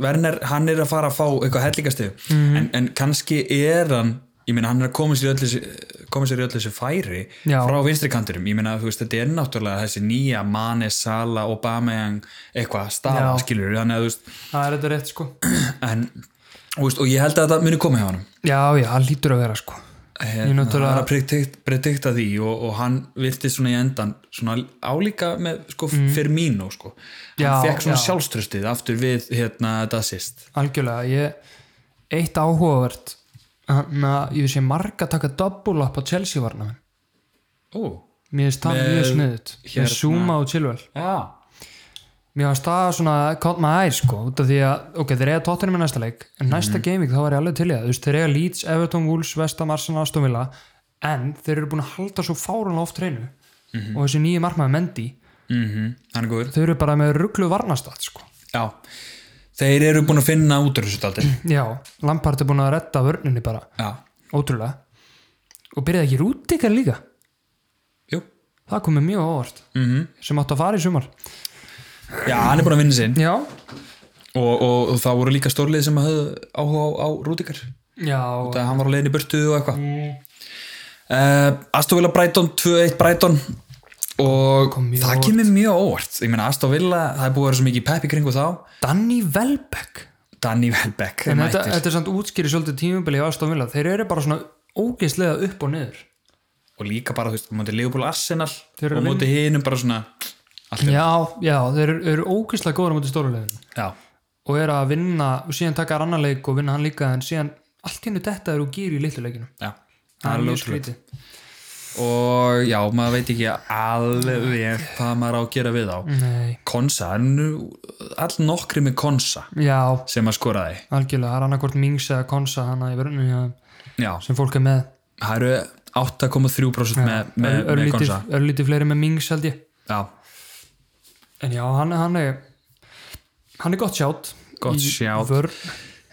Speaker 1: Werner, hann er að fara að fá eitthvað hellingastig
Speaker 2: Mhm.
Speaker 1: en, en kannski er hann ég meina hann er að koma sér í öll þessi- koma sér í öllu þessu færi
Speaker 2: Já.
Speaker 1: frá vinstri kanturum, ég meina þú veist þetta er náttúrulega þessi nýja Mane, Sala, Aubameyang eitthvað stafa
Speaker 2: Já.
Speaker 1: skilur þannig að þú veist
Speaker 2: það er þetta rétt sko
Speaker 1: en, þú veist, og ég held að þetta muni koma hjá hann
Speaker 2: já já, hann lítur að vera sko Ég
Speaker 1: hérna, það
Speaker 2: náttúrulega-
Speaker 1: er að predikt- predikta því og, og hann virtist svona í endan svona álíka með sko Firmino sko, hann
Speaker 2: Mm. Já,
Speaker 1: fekk svona
Speaker 2: já.
Speaker 1: sjálfströstið aftur við hérna þetta sýst
Speaker 2: algjörlega, ég eitt áhugavert hann að ég sé marga taka double up á Chelsea varna
Speaker 1: Ó,
Speaker 2: mér finnst það
Speaker 1: Með-
Speaker 2: mjög sniðut
Speaker 1: hérna-
Speaker 2: með Zuma og Chilwell
Speaker 1: já
Speaker 2: mér finnst það svona caught my eye sko út af því að, ok, þeir eiga tóttunum með næsta leik en næsta
Speaker 1: Mhm.
Speaker 2: gaming þá var ég alveg til í það þú veist, þeir eiga Leeds, Everton, Wolves, Vestam, Arsenal, Aston Villa en þeir eru búin að halda svo fárunlega oft reynu
Speaker 1: Mhm.
Speaker 2: og þessi nýju markmaði Mendy
Speaker 1: mm hann er góður
Speaker 2: þau eru bara með rugglu varnastat sko
Speaker 1: já. þeir eru búin að finna út úr þessu daldi
Speaker 2: já, Lampard er búin að redda vörninni bara
Speaker 1: já,
Speaker 2: ótrúlega og byrjaði ekki rútikar líka
Speaker 1: jú
Speaker 2: það komið mjög á óvart
Speaker 1: Mhm.
Speaker 2: -hmm. sem átti að fara í sumar
Speaker 1: já, hann er búin að vinna sinn
Speaker 2: já,
Speaker 1: og, og, og það voru líka stórlið sem höfðu áhuga á, á rútikar
Speaker 2: já,
Speaker 1: það hann var á leiðin í burtu og eitthvað
Speaker 2: Mm.
Speaker 1: uh, Aston Villa Brighton 2-1 Brighton og
Speaker 2: Kom mjög
Speaker 1: það
Speaker 2: óvart.
Speaker 1: kemur mjög óvart ég meina Aston Villa, það er búið að vera svo mikið pepp í kringu þá
Speaker 2: Danny Welbeck
Speaker 1: Danny Welbeck er
Speaker 2: en þetta,
Speaker 1: mættur
Speaker 2: þetta er samt útskýri svolítið tímubili á Aston Villa, þeir eru bara svona ógeðslega upp og niður
Speaker 1: og líka bara, þú veist, á móti Liverpool Arsenal
Speaker 2: Þeir eru
Speaker 1: og á
Speaker 2: að
Speaker 1: móti hinum bara svona allt er,
Speaker 2: já, já, þeir eru, eru ógeðslega góður á móti stóru leiðin
Speaker 1: já,
Speaker 2: og eru að vinna, og síðan taka annan leik og vinna hann líka, en síðan allt hérna þetta eru gýr í litlu leikinu
Speaker 1: já það er
Speaker 2: mjög
Speaker 1: ljótrúlega
Speaker 2: skrítið.
Speaker 1: og já, maður veit ekki alveg hvað maður á að gera við á
Speaker 2: nei,
Speaker 1: Konsa, er nú all nokkri með Konsa
Speaker 2: já,
Speaker 1: sem að skoraði
Speaker 2: algjörlega, það er annarkvort Mings eða Konsa hana í vörnum hjá þeim
Speaker 1: já,
Speaker 2: sem fólk er með
Speaker 1: það eru 8,3% með, með, með
Speaker 2: örlítið,
Speaker 1: Konsa
Speaker 2: örlítið fleiri með Mings held ég
Speaker 1: Já,
Speaker 2: en já, hann, hann er hann er gott sjátt
Speaker 1: Gott
Speaker 2: Í
Speaker 1: sjátt.
Speaker 2: vörn.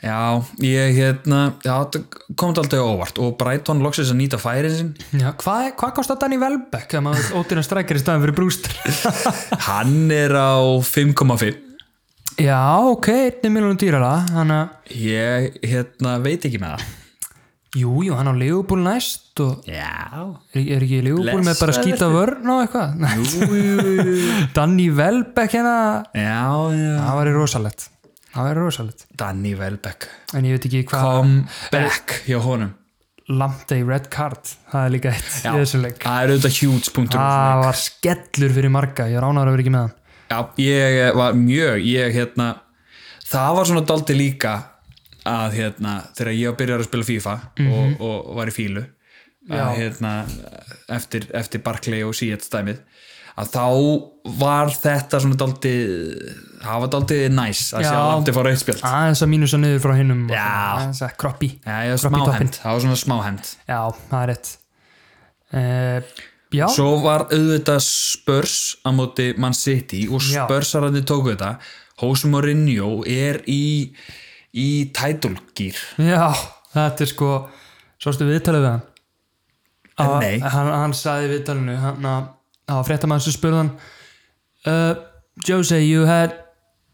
Speaker 1: já, ég hérna, já, þetta kom þetta aldrei á óvart og Brighton loksins að nýta færin sin
Speaker 2: já, hvað, er- hvað kostar Danny Welbeck ef maður ótir að strækir í staðin fyrir brústur
Speaker 1: hann er á 5,5
Speaker 2: já, ok, 1 miljonum dýrara hann að,
Speaker 1: ég hérna veit ekki með það
Speaker 2: jú, jú, hann á Leopold næst og
Speaker 1: Já
Speaker 2: er, er ekki Leopold með bara að skýta vörn og eitthvað Nei, Danny Welbeck hérna
Speaker 1: Já, já
Speaker 2: það væri rosalett það væri rosalett
Speaker 1: Danny Welbeck
Speaker 2: en ég veit ekki hvað
Speaker 1: Come back hjá honum
Speaker 2: Lamptey Red Card, það er líka eitt í þessu leik
Speaker 1: það er auðvitað huge punktur
Speaker 2: Það var skellur fyrir marga, ég ránaður að vera ekki með hann.
Speaker 1: Já, ég eh, var mjög, ég hérna það var svona daldi líka að hérna, þegar ég byrjar að spila FIFA
Speaker 2: Mhm.
Speaker 1: og, og var í fílu að hérna eftir, eftir Barclay og Seat stæmið að þá var þetta svona daldi það var daldi næs að
Speaker 2: Já. Ah.
Speaker 1: sjá landi fara auðspjöld
Speaker 2: Aðeins að mínusa niður frá hinnum.
Speaker 1: Já.
Speaker 2: Aðeins að kroppi.
Speaker 1: Já, ég var
Speaker 2: Kropp í toppinn.
Speaker 1: smáhend, það var svona smáhend
Speaker 2: Já, það er rétt. Uh, já,
Speaker 1: Svo var auðvitað spörs á móti Man City og
Speaker 2: Já.
Speaker 1: spörsarandi tóku þetta Hose Mourinho er í í tætulgýr
Speaker 2: já, þetta er sko, svo stu viðtalið við hann. Að-
Speaker 1: Eh, Nei.
Speaker 2: Hann, hann sagði í viðtalinu, hann að, það var fréttamaður sem spurði hann, uh, Jose, you had,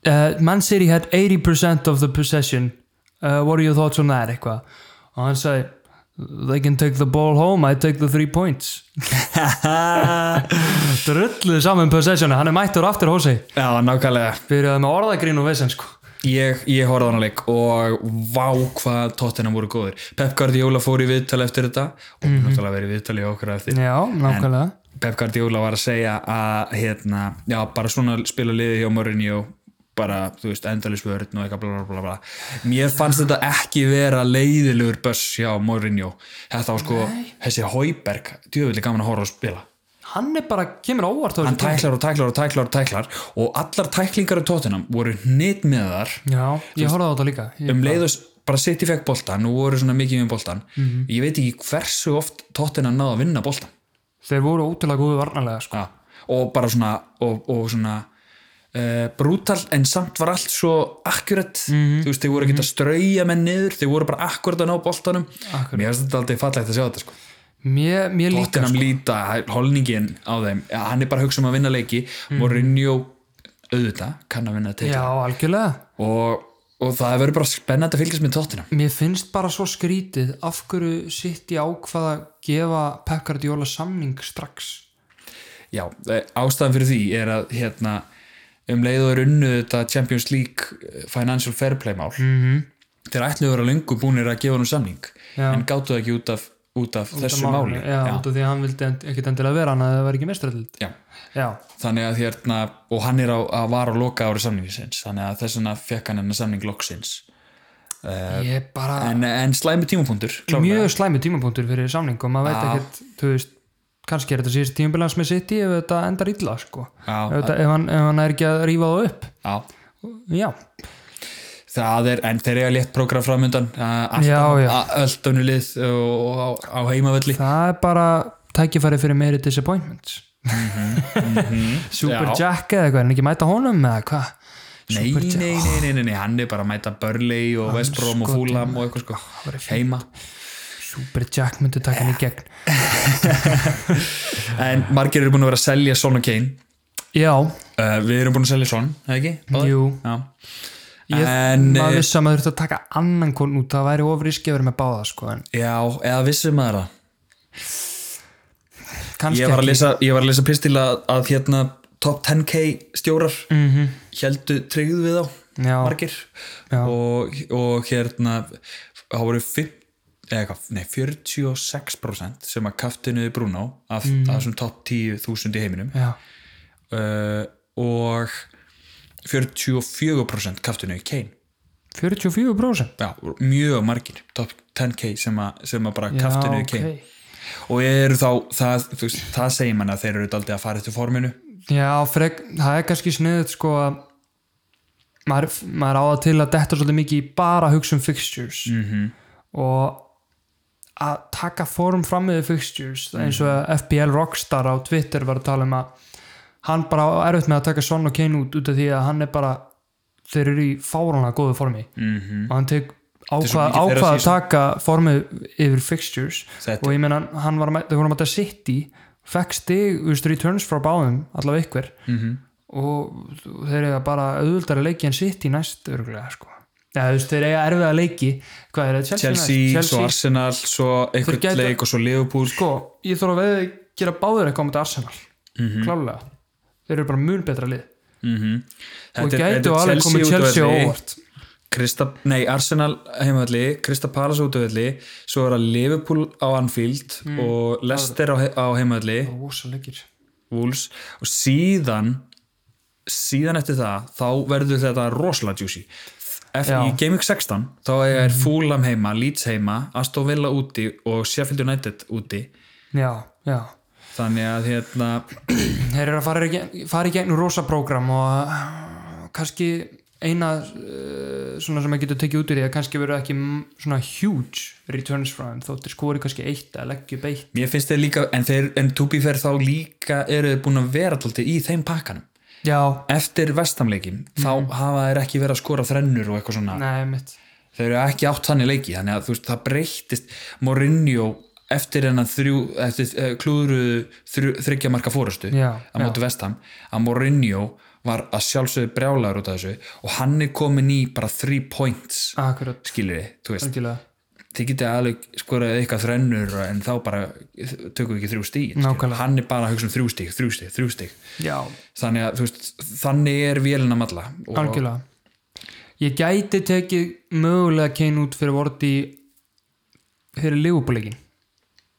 Speaker 2: uh, Man City had 80% of the possession. Uh, what are your thoughts on that, eitthvað? Og hann sagði, they can take the ball home, I take the three points. drulluð saman possessionu, hann er mættur aftur hósi
Speaker 1: Já, nákvæmlega
Speaker 2: byrjaði með orðagrín og vesen sko
Speaker 1: Ég, ég horfði á hann leik og vá hvað tóttina voru góðir Pep Guardiola fór í viðtali eftir þetta og mm -hmm. náttúrulega verið í viðtali hjá okkur á eftir
Speaker 2: já, nákvæmlega
Speaker 1: Pep Guardiola var að segja að hérna, já, bara svona spila liði hjá Mourinho bara, þú veist, endalins vörn og eitthvað bla bla bla bla mér fannst þetta ekki vera leiðilegur börs hjá Mourinho þetta var sko, þessi Hauberg djöfulli gaman að horfa að spila
Speaker 2: hann er bara, kemur á óvart á
Speaker 1: hann
Speaker 2: þessu tíma.
Speaker 1: tæklar og tæklar og tæklar og tæklar og allar tæklingar í tóttinam voru hnit með þar
Speaker 2: já, ég horfði á þetta líka ég,
Speaker 1: um leið og s- bara sitt í fekk boltan og voru svona mikið með boltan ég veit ekki hversu oft tóttinam náða að vinna boltan
Speaker 2: þeir voru ótrúlega góðu varnalega sko
Speaker 1: Já, og bara svona og, og svona uh, brútal en samt var allt svo akkurat,
Speaker 2: Mhm.
Speaker 1: þú veist, þeir voru ekkert að strauja menn niður, þeir voru bara akkurat að ná boltanum
Speaker 2: Akkúrat.
Speaker 1: mér finnst þetta aldrei fallegt að sjá þetta sko.
Speaker 2: Mér, mér líka
Speaker 1: Tottenham
Speaker 2: sko.
Speaker 1: líta, holningin á þeim ja, hann er bara að hugsa um að vinna leiki Mourinho auðvitað kann að vinna
Speaker 2: Mhm. Já,
Speaker 1: titla
Speaker 2: algjörlega
Speaker 1: og, og það verður bara spennandi að fylgjast með Tottenham
Speaker 2: Mér finnst bara svo skrítið af hverju sitt í ákvað að gefa Pep Guardiola samning strax
Speaker 1: Já, eh, ástæðan fyrir því er að hérna, um leið og er unnu þetta Champions League eh, Financial Fair Play mál
Speaker 2: -hmm.
Speaker 1: þeir ætluðu að vera löngu búnir að gefa hann samning
Speaker 2: Já.
Speaker 1: en gátu það ekki út af, út af þessu máli
Speaker 2: Já, út af því að hann vildi end- ekkit endilega vera hann að það var ekki mestraröld
Speaker 1: Já.
Speaker 2: Já,
Speaker 1: þannig að hérna og hann er á, að var á loka ári samningisins þannig að þess vegna fekk hann hennar samning loksins
Speaker 2: ég bara
Speaker 1: en, en slæmi tímapunktur klárlega.
Speaker 2: Ah. mjög slæmi tímapunktur fyrir samning og maður veit
Speaker 1: Já.
Speaker 2: ekkert, þú veist kannski er þetta síðast tímabilans með City ef þetta endar illa sko,
Speaker 1: Já,
Speaker 2: ef, þetta, ef, hann, ef hann er ekki að rífa það upp
Speaker 1: já,
Speaker 2: Já,
Speaker 1: það er en þeir eiga létt prógram framöndan eh, allt
Speaker 2: Já, já.
Speaker 1: öllunni lið og á, á heimavelli
Speaker 2: það er bara tækifæri fyrir meiri disappointments Super
Speaker 1: Já.
Speaker 2: Jack eða eitthvað, er hann ekki að mæta honum eða hvað?
Speaker 1: Nei,
Speaker 2: Super Jack-
Speaker 1: nei, nei, nei, nei, nei, hann er bara að mæta Burnley og West Brom og
Speaker 2: skotinn.
Speaker 1: Fulham og eitthvað
Speaker 2: Það væri
Speaker 1: sko
Speaker 2: fínt.
Speaker 1: heima.
Speaker 2: Super Jack myndi taka hann í gegn
Speaker 1: En margir eru búin að vera að selja Son og Kane.
Speaker 2: Já,
Speaker 1: Uh, við erum búin að selja Son, eða ekki? Báðir?
Speaker 2: jú
Speaker 1: Já.
Speaker 2: ég,
Speaker 1: En,
Speaker 2: maður
Speaker 1: eh,
Speaker 2: vissi að maður þurfti að taka annan konn út það væri ofriski að vera með báða sko, en
Speaker 1: Já, eða vissum maður það.
Speaker 2: kannski
Speaker 1: Ég var að lesa, ég var að lesa pistil að, að hérna top 10k stjórar mm
Speaker 2: Mhm.
Speaker 1: -hmm. heldu tryggð við þá,
Speaker 2: Já.
Speaker 1: margir.
Speaker 2: Já.
Speaker 1: Og, og hérna, það voru fimm- eða eitthvað, nei, 46% sem að kaftinuði Bruno af,
Speaker 2: Mm.
Speaker 1: af þessum top 10.000 í heiminum
Speaker 2: Já,
Speaker 1: uh, og 44% kaftinu í Kane
Speaker 2: 44%
Speaker 1: Já, mjög margir, top 10k sem, a, sem að bara
Speaker 2: Já,
Speaker 1: kaftinu í Kane
Speaker 2: ok.
Speaker 1: og eru þá, það, þú veist, það segir mann að þeir eru daldið að fara eftir forminu
Speaker 2: Já, frek, það er kannski sniðut sko að maður, maður áða til að detta svolítið mikið í bara að hugsa um fixtures -hmm.
Speaker 1: Mhm.
Speaker 2: og að taka form fram með fixtures eins og
Speaker 1: Mhm.
Speaker 2: að FBL Rockstar á Twitter var að tala um að hann bara á erfitt með að taka Son og Kane út út af því að hann er bara þeir eru í fáránlega góðu formi -hmm. og hann tek
Speaker 1: Mhm. er svo
Speaker 2: ákvað,
Speaker 1: mikið þeirra
Speaker 2: ákvað að
Speaker 1: season.
Speaker 2: taka formið yfir fixtures
Speaker 1: Þetta-
Speaker 2: og ég meina hann var að mæta, þau voru að mæta City fekk stig, þú veist, returns frá báðum allavega ykkur -hmm. og þeir eiga bara auðvöldari leiki en City næst örgulega sko ja, þú veist, þeir eiga erfiða leiki hvað er það, Chelsea,
Speaker 1: Chelsea,
Speaker 2: næst?
Speaker 1: svo Arsenal, svo einhvern
Speaker 2: Þeir gætu-
Speaker 1: leik og svo Liverpool
Speaker 2: sko, ég þarf að veða að gera báður eitthvað á þetta Arsenal, mm -hmm. klálega þeir eru bara mun betra lið
Speaker 1: mm -hmm.
Speaker 2: og gætu alveg komið Chelsea á óvart
Speaker 1: Krista, nei, Arsenal heimavalli, Krista Palace útöfelli svo er að Liverpool á Anfield
Speaker 2: Mm.
Speaker 1: og Leicester á, he- á heimavalli
Speaker 2: rosa leikir
Speaker 1: Wolves og síðan síðan eftir það þá verður þetta rosalega juicy eftir
Speaker 2: Já. Mhm.
Speaker 1: í Game Week 16 þá er Fulham heima, Leeds heima Aston Villa úti og Sheffield United úti
Speaker 2: já, já
Speaker 1: þannig að hérna
Speaker 2: þeir eru að fara í, gegn- fara í gegnum rosa prógram og uh, kannski eina uh, svona sem maður getur tekið út úr því að kannski verður ekki m- svona huge returns frá þeim þóttir skori kannski eitt að leggja upp eitt
Speaker 1: mér finnst þeir líka, en, þeir, en to be fair þá líka eru þeir búin að vera tólti í þeim pakkanum
Speaker 2: já,
Speaker 1: eftir vestamleikin þá hafa þeir ekki verið að skora þrennur og eitthvað svona
Speaker 2: Mhm. nei mitt
Speaker 1: þeir eru ekki átt þannig leiki þannig að þú veist, það breyttist Mourinho eftir hennan þrjú eftir eh, klúðru þryggja marka fórustu
Speaker 2: Já,
Speaker 1: að móti vestam að Mourinho var að sjálfsögðu brjálaður út af þessu og hann er komin í bara 3 points
Speaker 2: Ah. akkurat,
Speaker 1: skilur þið, þú veist
Speaker 2: algjörlega
Speaker 1: þið getið alveg skorað eitthvað þrennur en þá bara tökum við ekki þrjú stíg
Speaker 2: Nákvæmlega.
Speaker 1: hann er bara að hugsa um þrjú stíg, þrjú stíg, þrjú stíg
Speaker 2: já,
Speaker 1: þannig að þú veist, þannig er vélina malla og
Speaker 2: algjörlega ég gæti tekið mögulega kein út fyrir vorti fyrir lífubúleikin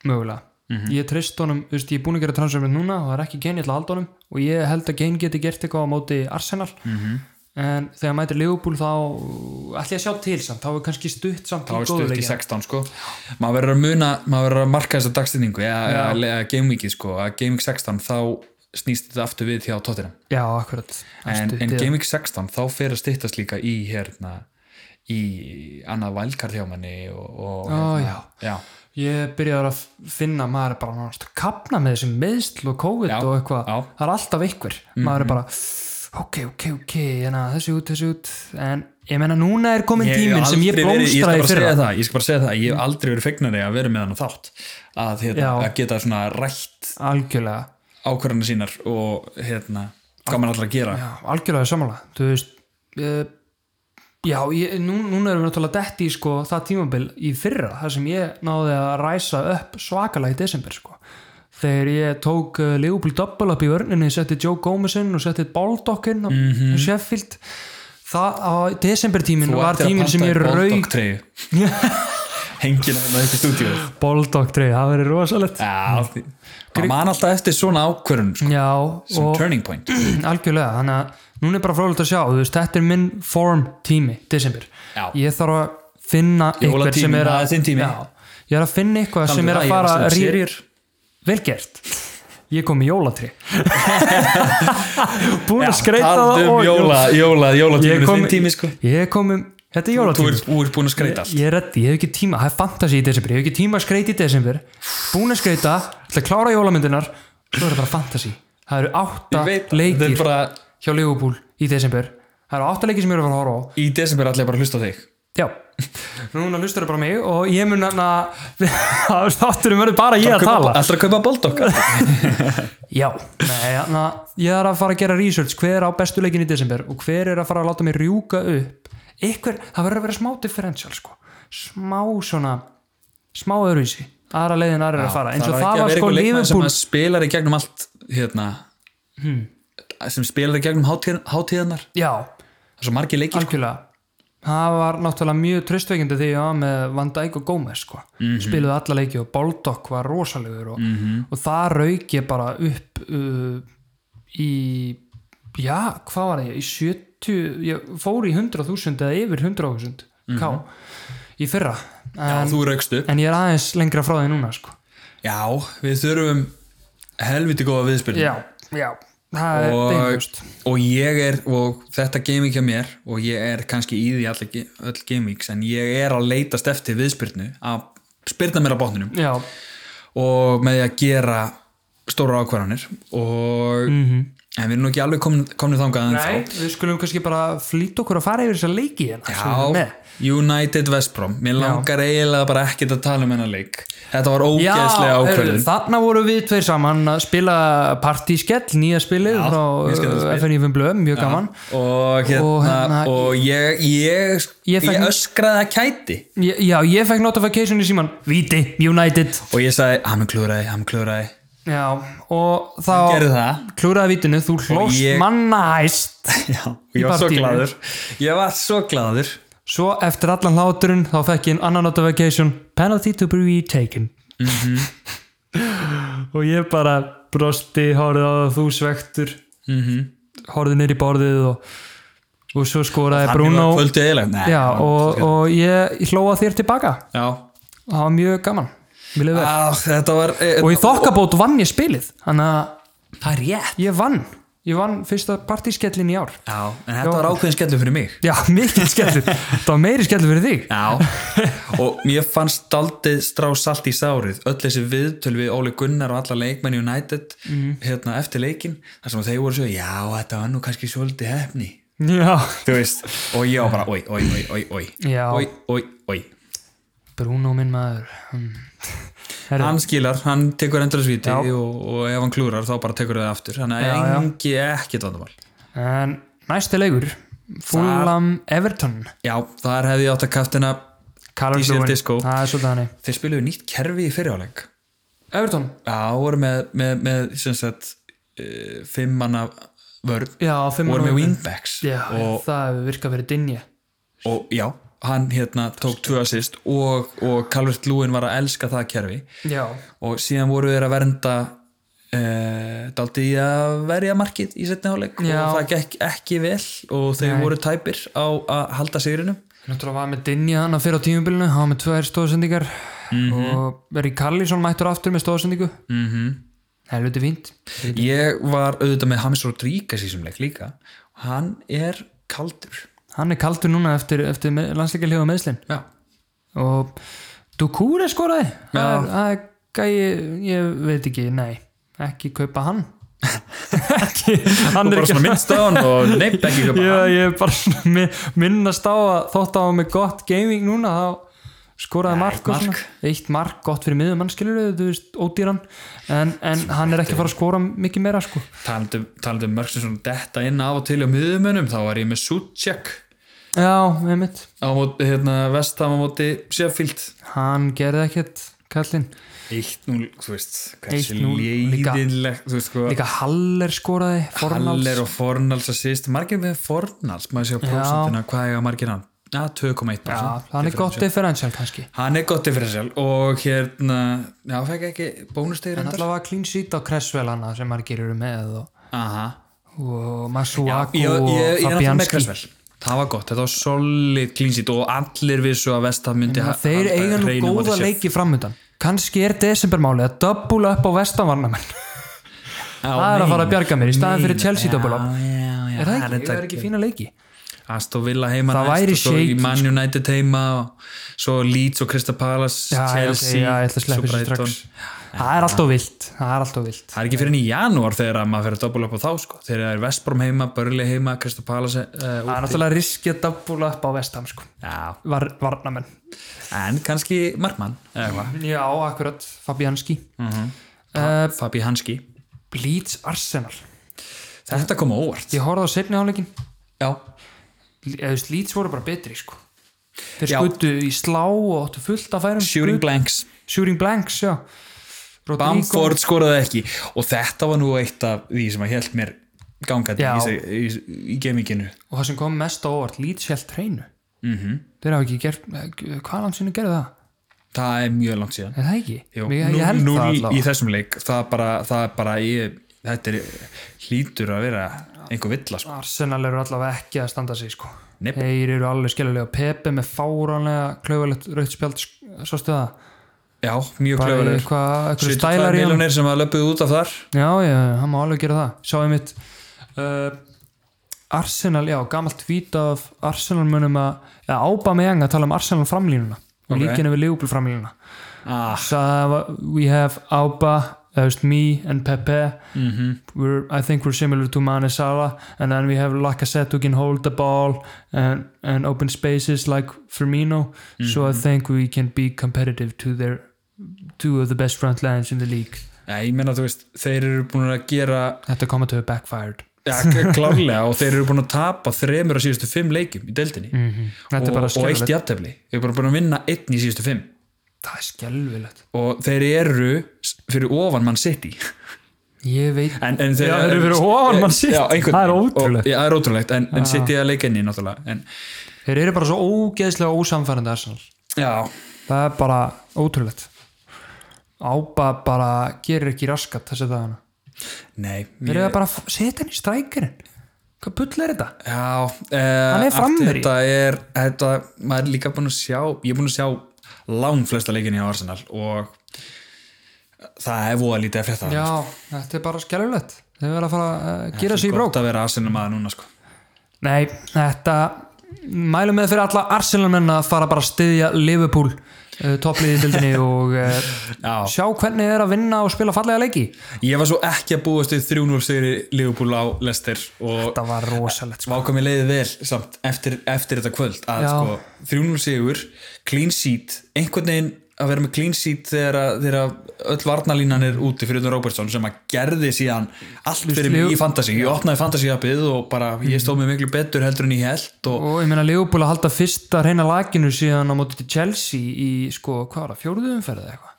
Speaker 2: mögulega
Speaker 1: Mhm.
Speaker 2: ég treyst honum, þú veist, ég er búin að gera transfermið núna og það er ekki Kane, ég ætla að halda honum og ég held að Kane geti gert eitthvað á móti Arsenal
Speaker 1: Mhm.
Speaker 2: -hmm. en þegar mætir Liverpool þá ætla ég að sjá til samt, þá er kannski stutt samt
Speaker 1: þá
Speaker 2: í
Speaker 1: er stutt í
Speaker 2: góðuleikin
Speaker 1: 16 sko maður verður að muna, maður verður að marka þessa dagstendingu eða, eða, eða gamevikið sko að gameweek 16 þá snýst þetta aftur við hjá Tottenham
Speaker 2: já, akkurat Það er
Speaker 1: en,
Speaker 2: stutt
Speaker 1: en
Speaker 2: í það.
Speaker 1: gameweek 16 þá fer að styttast líka í hérna í annað vælkart hjá manni og, og
Speaker 2: Ó,
Speaker 1: hérna, já.
Speaker 2: ég byrjaði að finna maður er bara náttúrulega að kapna með þessum meðsl og COVID
Speaker 1: Já, Mhm.
Speaker 2: og eitthvað
Speaker 1: já.
Speaker 2: það er alltaf ykkur maður er bara ok, ok, ok, hérna, þessi út, þessi út en ég meina núna er komin tíminn
Speaker 1: hef
Speaker 2: sem ég
Speaker 1: aldrei verið- ég skal
Speaker 2: blómstraði
Speaker 1: bara
Speaker 2: fyrir
Speaker 1: segja
Speaker 2: Mm.
Speaker 1: það, ég skal bara segja það, ég hef aldrei verið fegnari að vera með hann á þátt að, hérna,
Speaker 2: Já.
Speaker 1: að geta svona rætt
Speaker 2: algjörlega,
Speaker 1: ákvarðanir sínar og hérna, hvað maður allra að gera
Speaker 2: já, algjörlega samanlega þú veist uh, já, ég, nú, núna erum við náttúrulega detti í sko, það tímabil í fyrra þar sem ég náði að ræsa upp svakalega í desember sko þegar ég tók uh, Leopold Double up í vörninni, setti Joe Gomezinn og setti Baldockinn á Sheffield það á desembertímin
Speaker 1: Mhm. Þú
Speaker 2: var
Speaker 1: ættir að
Speaker 2: tímin sem
Speaker 1: panta
Speaker 2: ég
Speaker 1: í
Speaker 2: rauk
Speaker 1: Bulldog-treyju. hengina hérna upp í stúdíu
Speaker 2: Baldock 3, það verið rosalegt
Speaker 1: Eh, maður man alltaf eftir svona ákvarðan sko,
Speaker 2: já,
Speaker 1: sem
Speaker 2: og
Speaker 1: turning point
Speaker 2: algjörlega þannig að núna er bara frólægt að sjá þú veist, þetta er minn form tími, desember
Speaker 1: Já.
Speaker 2: ég þarf að finna eitthvað sem
Speaker 1: Jólatíminn,
Speaker 2: er
Speaker 1: það er þinn tími.
Speaker 2: já, ég er að finna eitthvað sem er að fara að rí- vel gert ég kom í jólatri búin að skreita það
Speaker 1: um
Speaker 2: og-
Speaker 1: jóla, jóla,
Speaker 2: ég
Speaker 1: jólatíminu
Speaker 2: kom,
Speaker 1: þinn tími sko
Speaker 2: ég kom um, þetta er
Speaker 1: þú
Speaker 2: jólatími
Speaker 1: ert þú ert búin að skreita allt
Speaker 2: ég er reddi, ég hef ekki tíma, það er fantasi í desember ég hef ekki tíma að skreita í desember búin að skreita, ætla að klára jólamyndinar svo er það bara fantasi það eru átta
Speaker 1: Ég veit það, þetta
Speaker 2: leikir
Speaker 1: er bara
Speaker 2: hjá Liverpool í desember það eru átta leikir sem ég er að fara að horfa á
Speaker 1: í desember allir bara að hlusta á þig
Speaker 2: já, núna hlustar það bara á mig og ég mun að þátturum verður bara ég að tala
Speaker 1: allra að kaupa boldokk
Speaker 2: já, nei, na, ég er að fara að gera research hver er á bestu leikin í desember og hver er að fara að láta mig rjúka upp Ykkur, það verður að vera smá differential sko. smá svona smá öðruvísi, aðra leiðin aðra er að fara eins og það var sko
Speaker 1: sem
Speaker 2: Liverpool Hmm.
Speaker 1: að spilar í gegnum allt hérna sem spilar í gegnum hátíð, hátíðarnar
Speaker 2: já,
Speaker 1: það er svo margir leikir
Speaker 2: algjörlega það var náttúrulega mjög tröstveikindi þegar ég var með Van Dijk og Gómez sko. spiluðu alla leiki og Baldock var rosalegur og, og það rauk ég bara upp uh, í já, hvað var ég, í 70 ég fór í 100.000 eða yfir 100.000 mm í fyrra en,
Speaker 1: sko. þú raukst upp
Speaker 2: en ég er aðeins lengra frá því núna sko.
Speaker 1: já, við þurfum helviti góða viðspil
Speaker 2: já, já, það er
Speaker 1: og,
Speaker 2: beinust
Speaker 1: og ég er og þetta gaming hjá mér og ég er kannski í því allir ge- öll gamings en ég er að leitast eftir viðspyrnu að spyrna mér á botninum
Speaker 2: já,
Speaker 1: og með því að gera stóra ákvarðanir og en við erum nú ekki alveg komin, komin þangað en
Speaker 2: Mhm. nei, við skulum kannski bara flýta okkur að fara yfir þessa leiki hérna, sem við erum
Speaker 1: Já,
Speaker 2: með.
Speaker 1: United West Brom Mér langar eiginlega bara ekkert að tala um hennar leik Þetta var ógeðslega
Speaker 2: heyrðu,
Speaker 1: ákvörðun
Speaker 2: þarna voru við tveir saman að spila partískell, nýja spilið
Speaker 1: Já, mjög skemmtilegt spil.
Speaker 2: frá FNF Blöð, mjög gaman
Speaker 1: Og hérna
Speaker 2: Og
Speaker 1: Og,
Speaker 2: hérna-
Speaker 1: ég, ég, ég,
Speaker 2: Ég fekk-
Speaker 1: öskraði að kæti
Speaker 2: Ég- Já, ég fekk notification í síman Viti, United
Speaker 1: Og ég sagði, "Ah, hann er klúraði, hann er klúraði
Speaker 2: Já, og þá
Speaker 1: Gerðu það
Speaker 2: klúraði vitinu, þú hlóst
Speaker 1: ég-
Speaker 2: manna hæst
Speaker 1: Já, og ég var svo
Speaker 2: partíinu.
Speaker 1: gladur Ég var svo gladur
Speaker 2: Svo eftir allan hláturinn þá fekk ég en annan notification Penalty to be retaken
Speaker 1: Mhm.
Speaker 2: Og ég bara brosti, horfði á það þú svektur
Speaker 1: mm -hmm.
Speaker 2: horfði nýr í borðið og, og svo skoraði Bruno
Speaker 1: var kvöldið eiginlega Nei,
Speaker 2: Já,
Speaker 1: hann-
Speaker 2: og, og ég hlóa þér tilbaka
Speaker 1: Já,
Speaker 2: það var mjög gaman mér leið vel.
Speaker 1: Á, Ah, þetta var eh,
Speaker 2: og í þokkabót vann ég spilið þannig að það er rétt ég vann, ég vann fyrsta partískellin í ár
Speaker 1: Já, en þetta var ákveðin skellur fyrir mig
Speaker 2: já, mikil skellur það var meiri skellur fyrir þig
Speaker 1: Já, og mér fannst daldið strá salt í sárið öll þessi viðtöl við Óli Gunnar og alla leikmenn í United
Speaker 2: Mhm.
Speaker 1: hérna, eftir leikin, þar sem þeir voru svo já, þetta var nú kannski svolítið hefni
Speaker 2: já,
Speaker 1: þú veist, og ég var bara oi, oi, oi, oi, oi,
Speaker 2: Já.
Speaker 1: oi, oi, oi
Speaker 2: Bruno minn maður Hmm. Herru,
Speaker 1: hann skilar, hann tekur endalarsvíti
Speaker 2: Já.
Speaker 1: og, og ef hann klúrar þá bara tekur það aftur þannig
Speaker 2: Já,
Speaker 1: að
Speaker 2: já.
Speaker 1: engi ekkert vandamál
Speaker 2: en næsti leikur Fulham Everton
Speaker 1: já, þar hefði ég átt að kaftina
Speaker 2: Callum
Speaker 1: Diesel
Speaker 2: Lewin.
Speaker 1: Disco.
Speaker 2: það er svolítið hannig
Speaker 1: þeir spiluðu nýtt kerfi í fyrirháleik
Speaker 2: Everton,
Speaker 1: já, voru með, með, með sem sagt, uh, fimm manna vörð
Speaker 2: já, fimm
Speaker 1: voru með
Speaker 2: mínútur.
Speaker 1: wingbacks
Speaker 2: já,
Speaker 1: og,
Speaker 2: það hefur virkað verið dinja
Speaker 1: og já, hann hérna tók tvö assist og, og Calvert Lúin var að elska það kerfi
Speaker 2: já,
Speaker 1: og síðan voru þeir að vernda uh, daldi í að verja markið í setni hálfleik og
Speaker 2: Já.
Speaker 1: það gekk ekki vel og þeir
Speaker 2: Nei.
Speaker 1: voru tæpir á að halda sigrinum
Speaker 2: Náttúrulega var með Dinja hann að fyrir á tímubilinu, hann var með tvær stóðsendingar
Speaker 1: Mhm.
Speaker 2: og verið Karlísson mættur aftur með stóðsendingu.
Speaker 1: mm
Speaker 2: Það er hluti fínt.
Speaker 1: ég var auðvitað með Hamis Rodríguez í þessum leik líka og hann er kaldur
Speaker 2: Hann er kaldur núna eftir, eftir landsleikarlega meðslinn.
Speaker 1: já,
Speaker 2: Og Dukure skoraði. Það
Speaker 1: Já.
Speaker 2: er- Það er gæi, ég veit ekki, nei, ekki kaupa hann. ekki, hann
Speaker 1: og
Speaker 2: er
Speaker 1: bara
Speaker 2: ekki
Speaker 1: svona minnst á hann og neitt ekki
Speaker 2: ég,
Speaker 1: yeah.
Speaker 2: ég er bara svona mi- minnast á að þótt að hann með gott gaming núna þá skoraði mark, og
Speaker 1: mark.
Speaker 2: svona. eitt mark, gott fyrir miðum hann skilur þau, þú veist, ódýran en, en hann er ekki að fara að skora mikið meira sko.
Speaker 1: talandi talandi um mörg sem svona detta inn af og til á miðumönum, þá var ég með Suchek
Speaker 2: já, einmitt,
Speaker 1: á móti, hérna, vestam á móti Sheffield
Speaker 2: hann gerði ekkert kallinn,
Speaker 1: 1-0, þú veist, hversu
Speaker 2: 1-0 líka.
Speaker 1: leiðinlegt þú veist, sko,
Speaker 2: líka Haller skoraði Fornals,
Speaker 1: Haller og Fornals að síst margir með Fornals, maður sé á prósentina hvað eiga margir hann? Ja, 2,1%
Speaker 2: já, hann er gott differential kannski
Speaker 1: Hann er gott differential og hérna, já, fekk ekki bónustegir
Speaker 2: en allavega clean sheet á Cresswell hana sem maður gerur með og,
Speaker 1: Aha,
Speaker 2: og
Speaker 1: ég,
Speaker 2: Masuaku
Speaker 1: ég,
Speaker 2: og
Speaker 1: ég er náttúrulega með
Speaker 2: Fabianski
Speaker 1: Kressvel Það var gott, þetta var solid clean sheet og allir vissu að Vestham myndi
Speaker 2: Þannig að þeir
Speaker 1: eh,
Speaker 2: eiga nú góða leiki framöndan kannski er desembermálið að döbbula upp á vestanvarnamenn það er að fara að bjarga mér í staðin fyrir Chelsea döbbula upp er það ekki, það er ekki fína leiki
Speaker 1: Aston Villa heima
Speaker 2: Það
Speaker 1: næst
Speaker 2: væri sko.
Speaker 1: og svo í
Speaker 2: shaky,
Speaker 1: Man United heima og svo Leeds og Crystal Palace
Speaker 2: já,
Speaker 1: Chelsea,
Speaker 2: Chelsea, já, ég ætla
Speaker 1: svo
Speaker 2: að sleppa þessu
Speaker 1: Brighton
Speaker 2: strax það er alltaf vilt það er alltaf vilt
Speaker 1: Það er ekki fyrir enn í janúar þegar að maður fyrir að dobbula upp á þá sko. þegar það er Vestbrom heima, Börli heima, Crystal Palace uh,
Speaker 2: það er náttúrulega riski að döbbula upp á vestam sko.
Speaker 1: Já,
Speaker 2: Var, varnamenn
Speaker 1: en kannski Markmann eða eitthvað,
Speaker 2: já, akkurat, Fabianski
Speaker 1: uh, Fabi Hanski
Speaker 2: Bleeds Arsenal
Speaker 1: Þetta kom á óvart
Speaker 2: ég horfði á seinni háluleikin
Speaker 1: Já,
Speaker 2: Leeds voru bara betri sko. þeir
Speaker 1: Já.
Speaker 2: skuttu í slá og áttu fullt af færum
Speaker 1: Shooting Blanks
Speaker 2: Shooting Blanks, já Rodrigo.
Speaker 1: Bamford skoraði ekki og þetta var nú eitt af því sem að held mér gangandi
Speaker 2: Já.
Speaker 1: í, í, í, í gaminginu
Speaker 2: og það sem kom mest á óvart Leeds held hreinu
Speaker 1: Mhm.
Speaker 2: -hmm. þeir hafa ekki gert, eh, hvað langt sinni gerði það
Speaker 1: það er mjög langt síðan
Speaker 2: er það ekki?
Speaker 1: Jú,
Speaker 2: ég, ég held
Speaker 1: núll
Speaker 2: það
Speaker 1: í
Speaker 2: allavega
Speaker 1: þessum leik það er bara, það er bara ég, þetta er hlýtur að vera einhver villa sko.
Speaker 2: Arsenal eru allavega ekki að standa sig sko.
Speaker 1: Nei.
Speaker 2: þeir eru alveg skiljulega Pepe með fáranlega klauvalegt rautspjald svo stuða
Speaker 1: já, mjög
Speaker 2: bara
Speaker 1: klöfur
Speaker 2: eitthvað, eitthvað
Speaker 1: 72
Speaker 2: stælar í hann
Speaker 1: miljonir sem að löpuðu út af þar
Speaker 2: já, já, hann má alveg gera það sá ég mitt uh, Arsenal, já, gamalt vít af Arsenal munum að já, ába með að tala um Arsenal framlínuna og
Speaker 1: Ok.
Speaker 2: líkinu við Leopold framlínuna
Speaker 1: ah,
Speaker 2: So uh, we have Auba, uh, just me and Pepe.
Speaker 1: mhm.
Speaker 2: We're, I think we're similar to Mane Salah, and then we have Lacazette who can hold the ball and and open spaces like Firmino. So I
Speaker 1: Mhm.
Speaker 2: think we can be competitive to their two of the best front lines in the league.
Speaker 1: ja, ég meina þú veist, þeir eru búin að gera
Speaker 2: Þetta koma til að backfired.
Speaker 1: ja, klárlega og þeir eru búin að tapa þremur af síðustu fimm leikum í deildinni
Speaker 2: Mhm. Þetta er
Speaker 1: og,
Speaker 2: bara
Speaker 1: og eitt
Speaker 2: skelvilegt.
Speaker 1: jættefli þeir eru bara búin að vinna einn í síðustu fimm
Speaker 2: Það er skelvilegt.
Speaker 1: og þeir eru s- fyrir ofan mann City
Speaker 2: Ég veit.
Speaker 1: en, en þeir, eh,
Speaker 2: Já, þeir eru fyrir ofan Man City.
Speaker 1: já, einhvern-
Speaker 2: Það er
Speaker 1: og-
Speaker 2: ótrúlegt. Ah.
Speaker 1: já, það er ótrúlegt, en, en City að leikenni náttúrulega en,
Speaker 2: Þeir eru bara svo ógeðslega ósamfærandi Arsenal.
Speaker 1: já,
Speaker 2: Það er bara ótrúlegt. Ába bara gerir ekki raskat þessi dagana.
Speaker 1: nei
Speaker 2: Þeir eru
Speaker 1: ég-
Speaker 2: að bara f- setja hann í strækirinn Hvað bull er þetta?
Speaker 1: já, eh,
Speaker 2: er
Speaker 1: allt
Speaker 2: framherji.
Speaker 1: þetta er þetta, maður er líka búin að sjá ég er búin að sjá lang flesta leikinni á Arsenal og það er voða lítið að frétta
Speaker 2: Já, þetta er bara skelvilegt Þeir verða að fara að
Speaker 1: það
Speaker 2: gera sig í
Speaker 1: er
Speaker 2: brók
Speaker 1: gott að vera Arsenal maður núna sko.
Speaker 2: Nei, þetta mælum með fyrir alla Arsenal-menn að fara bara að styðja Liverpool uh, toppliðið dildinni og uh,
Speaker 1: já,
Speaker 2: sjá hvernig þeir eru að vinna og spila fallega leiki
Speaker 1: ég var svo ekki að búast við 3-0 sigri Liverpool á Leicester og
Speaker 2: Þetta var rosalegt sko.
Speaker 1: Vákvæmi leiði vel samt eftir, eftir þetta kvöld að
Speaker 2: Já.
Speaker 1: sko, 3-0 sigur, clean sheet einhvern veginn að vera með clean sheet þegar, að- þegar að öll varnalínan er úti fyrir utan Robertson sem að gerði síðan allt fyrir mig í fantasy ég opnaði fantasy appið og bara ég stóð mig miklu betur heldur en ég held og
Speaker 2: Og ég meina Liverpool að halda fyrsta reyna laginu síðan á móti til Chelsea í sko, hvað var það, fjórðu umferð eða eitthvað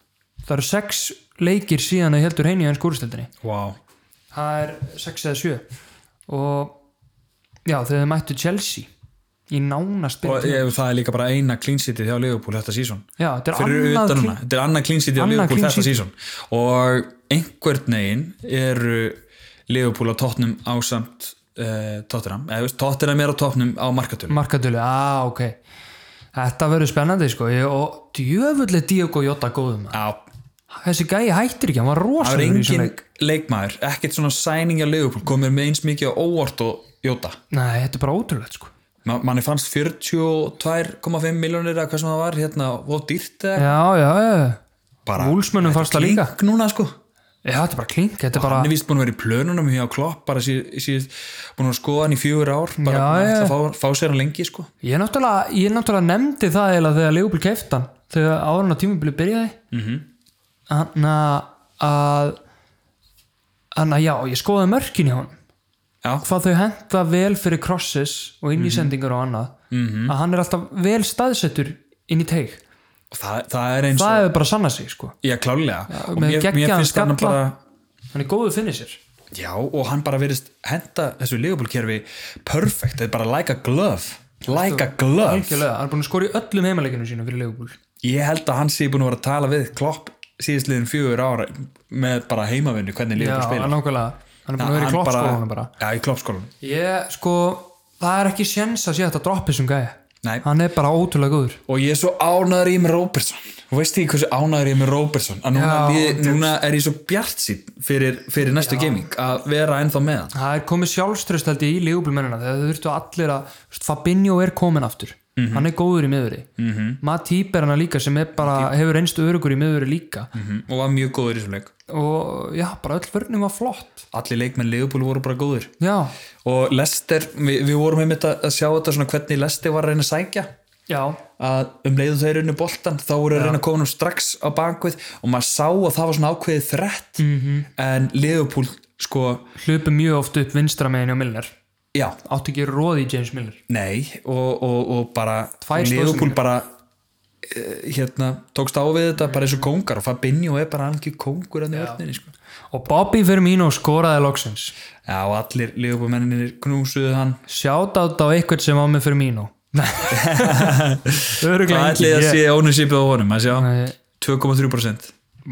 Speaker 2: Það eru sex leikir síðan að heldur reyni í hans skúristildinni
Speaker 1: wow.
Speaker 2: það er 6 eða 7 og já þegar þau mættu Chelsea í nánast
Speaker 1: og
Speaker 2: byrjun
Speaker 1: ég, það er líka bara eina clean sheetið hjá Liverpool þetta sísón
Speaker 2: já þetta er
Speaker 1: fyrir
Speaker 2: annað
Speaker 1: utan
Speaker 2: klí-
Speaker 1: hana, þetta er annað clean sheet á
Speaker 2: Annað
Speaker 1: Liverpool
Speaker 2: clean
Speaker 1: þetta
Speaker 2: sheet.
Speaker 1: sísón og einhvern veginn eru Liverpool á tóttnum ásamt uh, tóttinam, eða þú veist, tóttinam er á tóttnum á markatölu
Speaker 2: markatölu, á ok þetta verður spennandi sko ég, og djöfulli Diogo Jota góðum
Speaker 1: á,
Speaker 2: þessi gæi hættir ekki, hann var
Speaker 1: það er
Speaker 2: rosalur í þessum
Speaker 1: engin
Speaker 2: leik
Speaker 1: leikmaður, ekkert svona sæning á Liverpool, komir með eins mikið á óvart og jóta,
Speaker 2: nei, þetta er bara ótrúlegt sko
Speaker 1: Ma, manni fannst 42,5 miljónir að hvað sem það var hérna, og dýrt eða
Speaker 2: já, já, já,
Speaker 1: bara
Speaker 2: Wolfsmönnum fannst það líka
Speaker 1: klink núna sko
Speaker 2: Já, þetta er bara klink, þetta er bara
Speaker 1: hann er vist búin að vera í plönunum hjá Klopp bara síðan búin að skoða hann í fjögur ár bara búin
Speaker 2: Já,
Speaker 1: að
Speaker 2: já.
Speaker 1: ætla að fá, fá sér hann lengi sko.
Speaker 2: Ég náttúrulega, ég náttúrulega nefndi það eiginlega þegar Leopold keftan þegar árun á tímubili byrjaði mm
Speaker 1: Mhm.
Speaker 2: -hmm. að þannig að já, ég skoði mörkin hjá hann
Speaker 1: Já. Mhm.
Speaker 2: hvað þau henda vel fyrir crosses og innísendingar og annað -hmm. að hann er alltaf vel staðsettur inn í teig,
Speaker 1: og það, það er eins og
Speaker 2: það hefur bara sannað sig sko.
Speaker 1: já klálega og
Speaker 2: með
Speaker 1: mér, mér
Speaker 2: geggjaðan
Speaker 1: finnst hann
Speaker 2: skalla.
Speaker 1: bara
Speaker 2: hann er góðu finnir sér
Speaker 1: já og hann bara verist henda þessu legubólkerfi perfect, þetta er bara like a glove like a glove
Speaker 2: Algjörlega, hann er búin að skora í öllum heimaleikinu sínu fyrir Leopold
Speaker 1: ég held að hann sé búin að vera að tala við Klopp síðastliðin fjögur ára með bara heimavinnu hvernig
Speaker 2: Já,
Speaker 1: leguból spila
Speaker 2: nákvæmlega, hann er búin að vera í kloppskólanum bara
Speaker 1: já í kloppskólanum
Speaker 2: Ég, sko, það er ekki séns að sé hægt að droppa þessum gæja
Speaker 1: Nei.
Speaker 2: Hann er bara ótrúlega góður
Speaker 1: og ég er svo ánæður í mig Róbertson og veist því hversu ánæður ég er með Róbertson að núna,
Speaker 2: Já,
Speaker 1: við, núna er ég svo bjart sín fyrir, fyrir næstu gaming að vera ennþá með hann
Speaker 2: Það er komið sjálfströst held ég í lífubulmennina þegar þau þurftu allir að þú veist, Fabinho er komin aftur Hann er góður í miðurri mm -hmm. Matip er hana líka sem er bara hefur reynst örugur í miðurri líka
Speaker 1: og var mjög góður í þessum leik
Speaker 2: og já, bara öll vörnum var flott
Speaker 1: allir leikmenn Leopold voru bara góður
Speaker 2: Já,
Speaker 1: og Lester, við, við vorum einmitt að að sjá þetta svona hvernig Lester var að reyna að sækja
Speaker 2: já,
Speaker 1: að um leiðu þeir unni boltan þá voru að reyna að koma hann strax á bakvið og maður sá að það var svona ákveðið þrett -hmm. en Leopold sko,
Speaker 2: hlupu mjög oft upp vinstra meðin á Milner
Speaker 1: já,
Speaker 2: Átti ekki róði í James Milner
Speaker 1: Nei, og, og, og bara
Speaker 2: Tvær
Speaker 1: Leopold
Speaker 2: stoðsendingar.
Speaker 1: bara eh, hérna, tókst á við þetta bara eins og kóngar og Fabinho er bara algjör kóngur hann í vörninni sko.
Speaker 2: Og Bobby Firmino skoraði loksins
Speaker 1: Já, og allir Leopold menninir knúsuðu hann
Speaker 2: Shoutout á eitthvað sem á mig Firmino
Speaker 1: Hvað
Speaker 2: Öruglega
Speaker 1: ætli að sé ownershipið á honum, að sjá
Speaker 2: Nei.
Speaker 1: 2,3%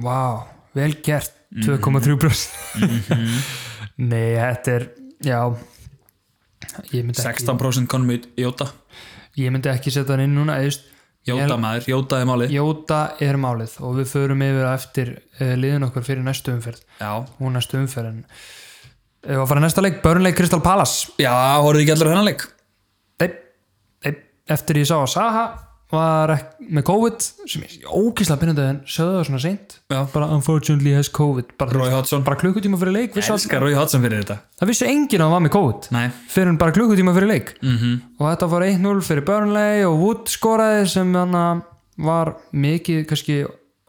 Speaker 2: Vá, vel gert 2,3%
Speaker 1: Mhm.
Speaker 2: Nei, þetta er já ég myndi ekki,
Speaker 1: 16% konum í Jóta
Speaker 2: ég myndi ekki setja hann inn núna eðst,
Speaker 1: Jóta maður, Jóta er máli
Speaker 2: Jóta er málið og við förum yfir á eftir uh, liðin okkar fyrir næstu umferð
Speaker 1: Já,
Speaker 2: og næstu umferð en ef að fara í næsta leik, Börnleik Crystal Palace
Speaker 1: Já horfðu ekki allir á þennan leik
Speaker 2: Nei, nei, eftir ég sá að Saha var ek- með COVID sem ég ókýrslega byrjandi en sögðu það svona seint
Speaker 1: Já.
Speaker 2: bara unfortunately has COVID bara,
Speaker 1: Roy Hodgson,
Speaker 2: bara klukkutíma fyrir leik vissi, all-
Speaker 1: elskar Roy Hodgson fyrir þetta
Speaker 2: það vissi enginn að hann var með COVID
Speaker 1: Nei, Mm.
Speaker 2: fyrir hann bara klukkutíma fyrir leik -hmm.
Speaker 1: Mhm.
Speaker 2: og þetta var 1-0 fyrir Burnley og Wood skoraði sem hann að var mikið kannski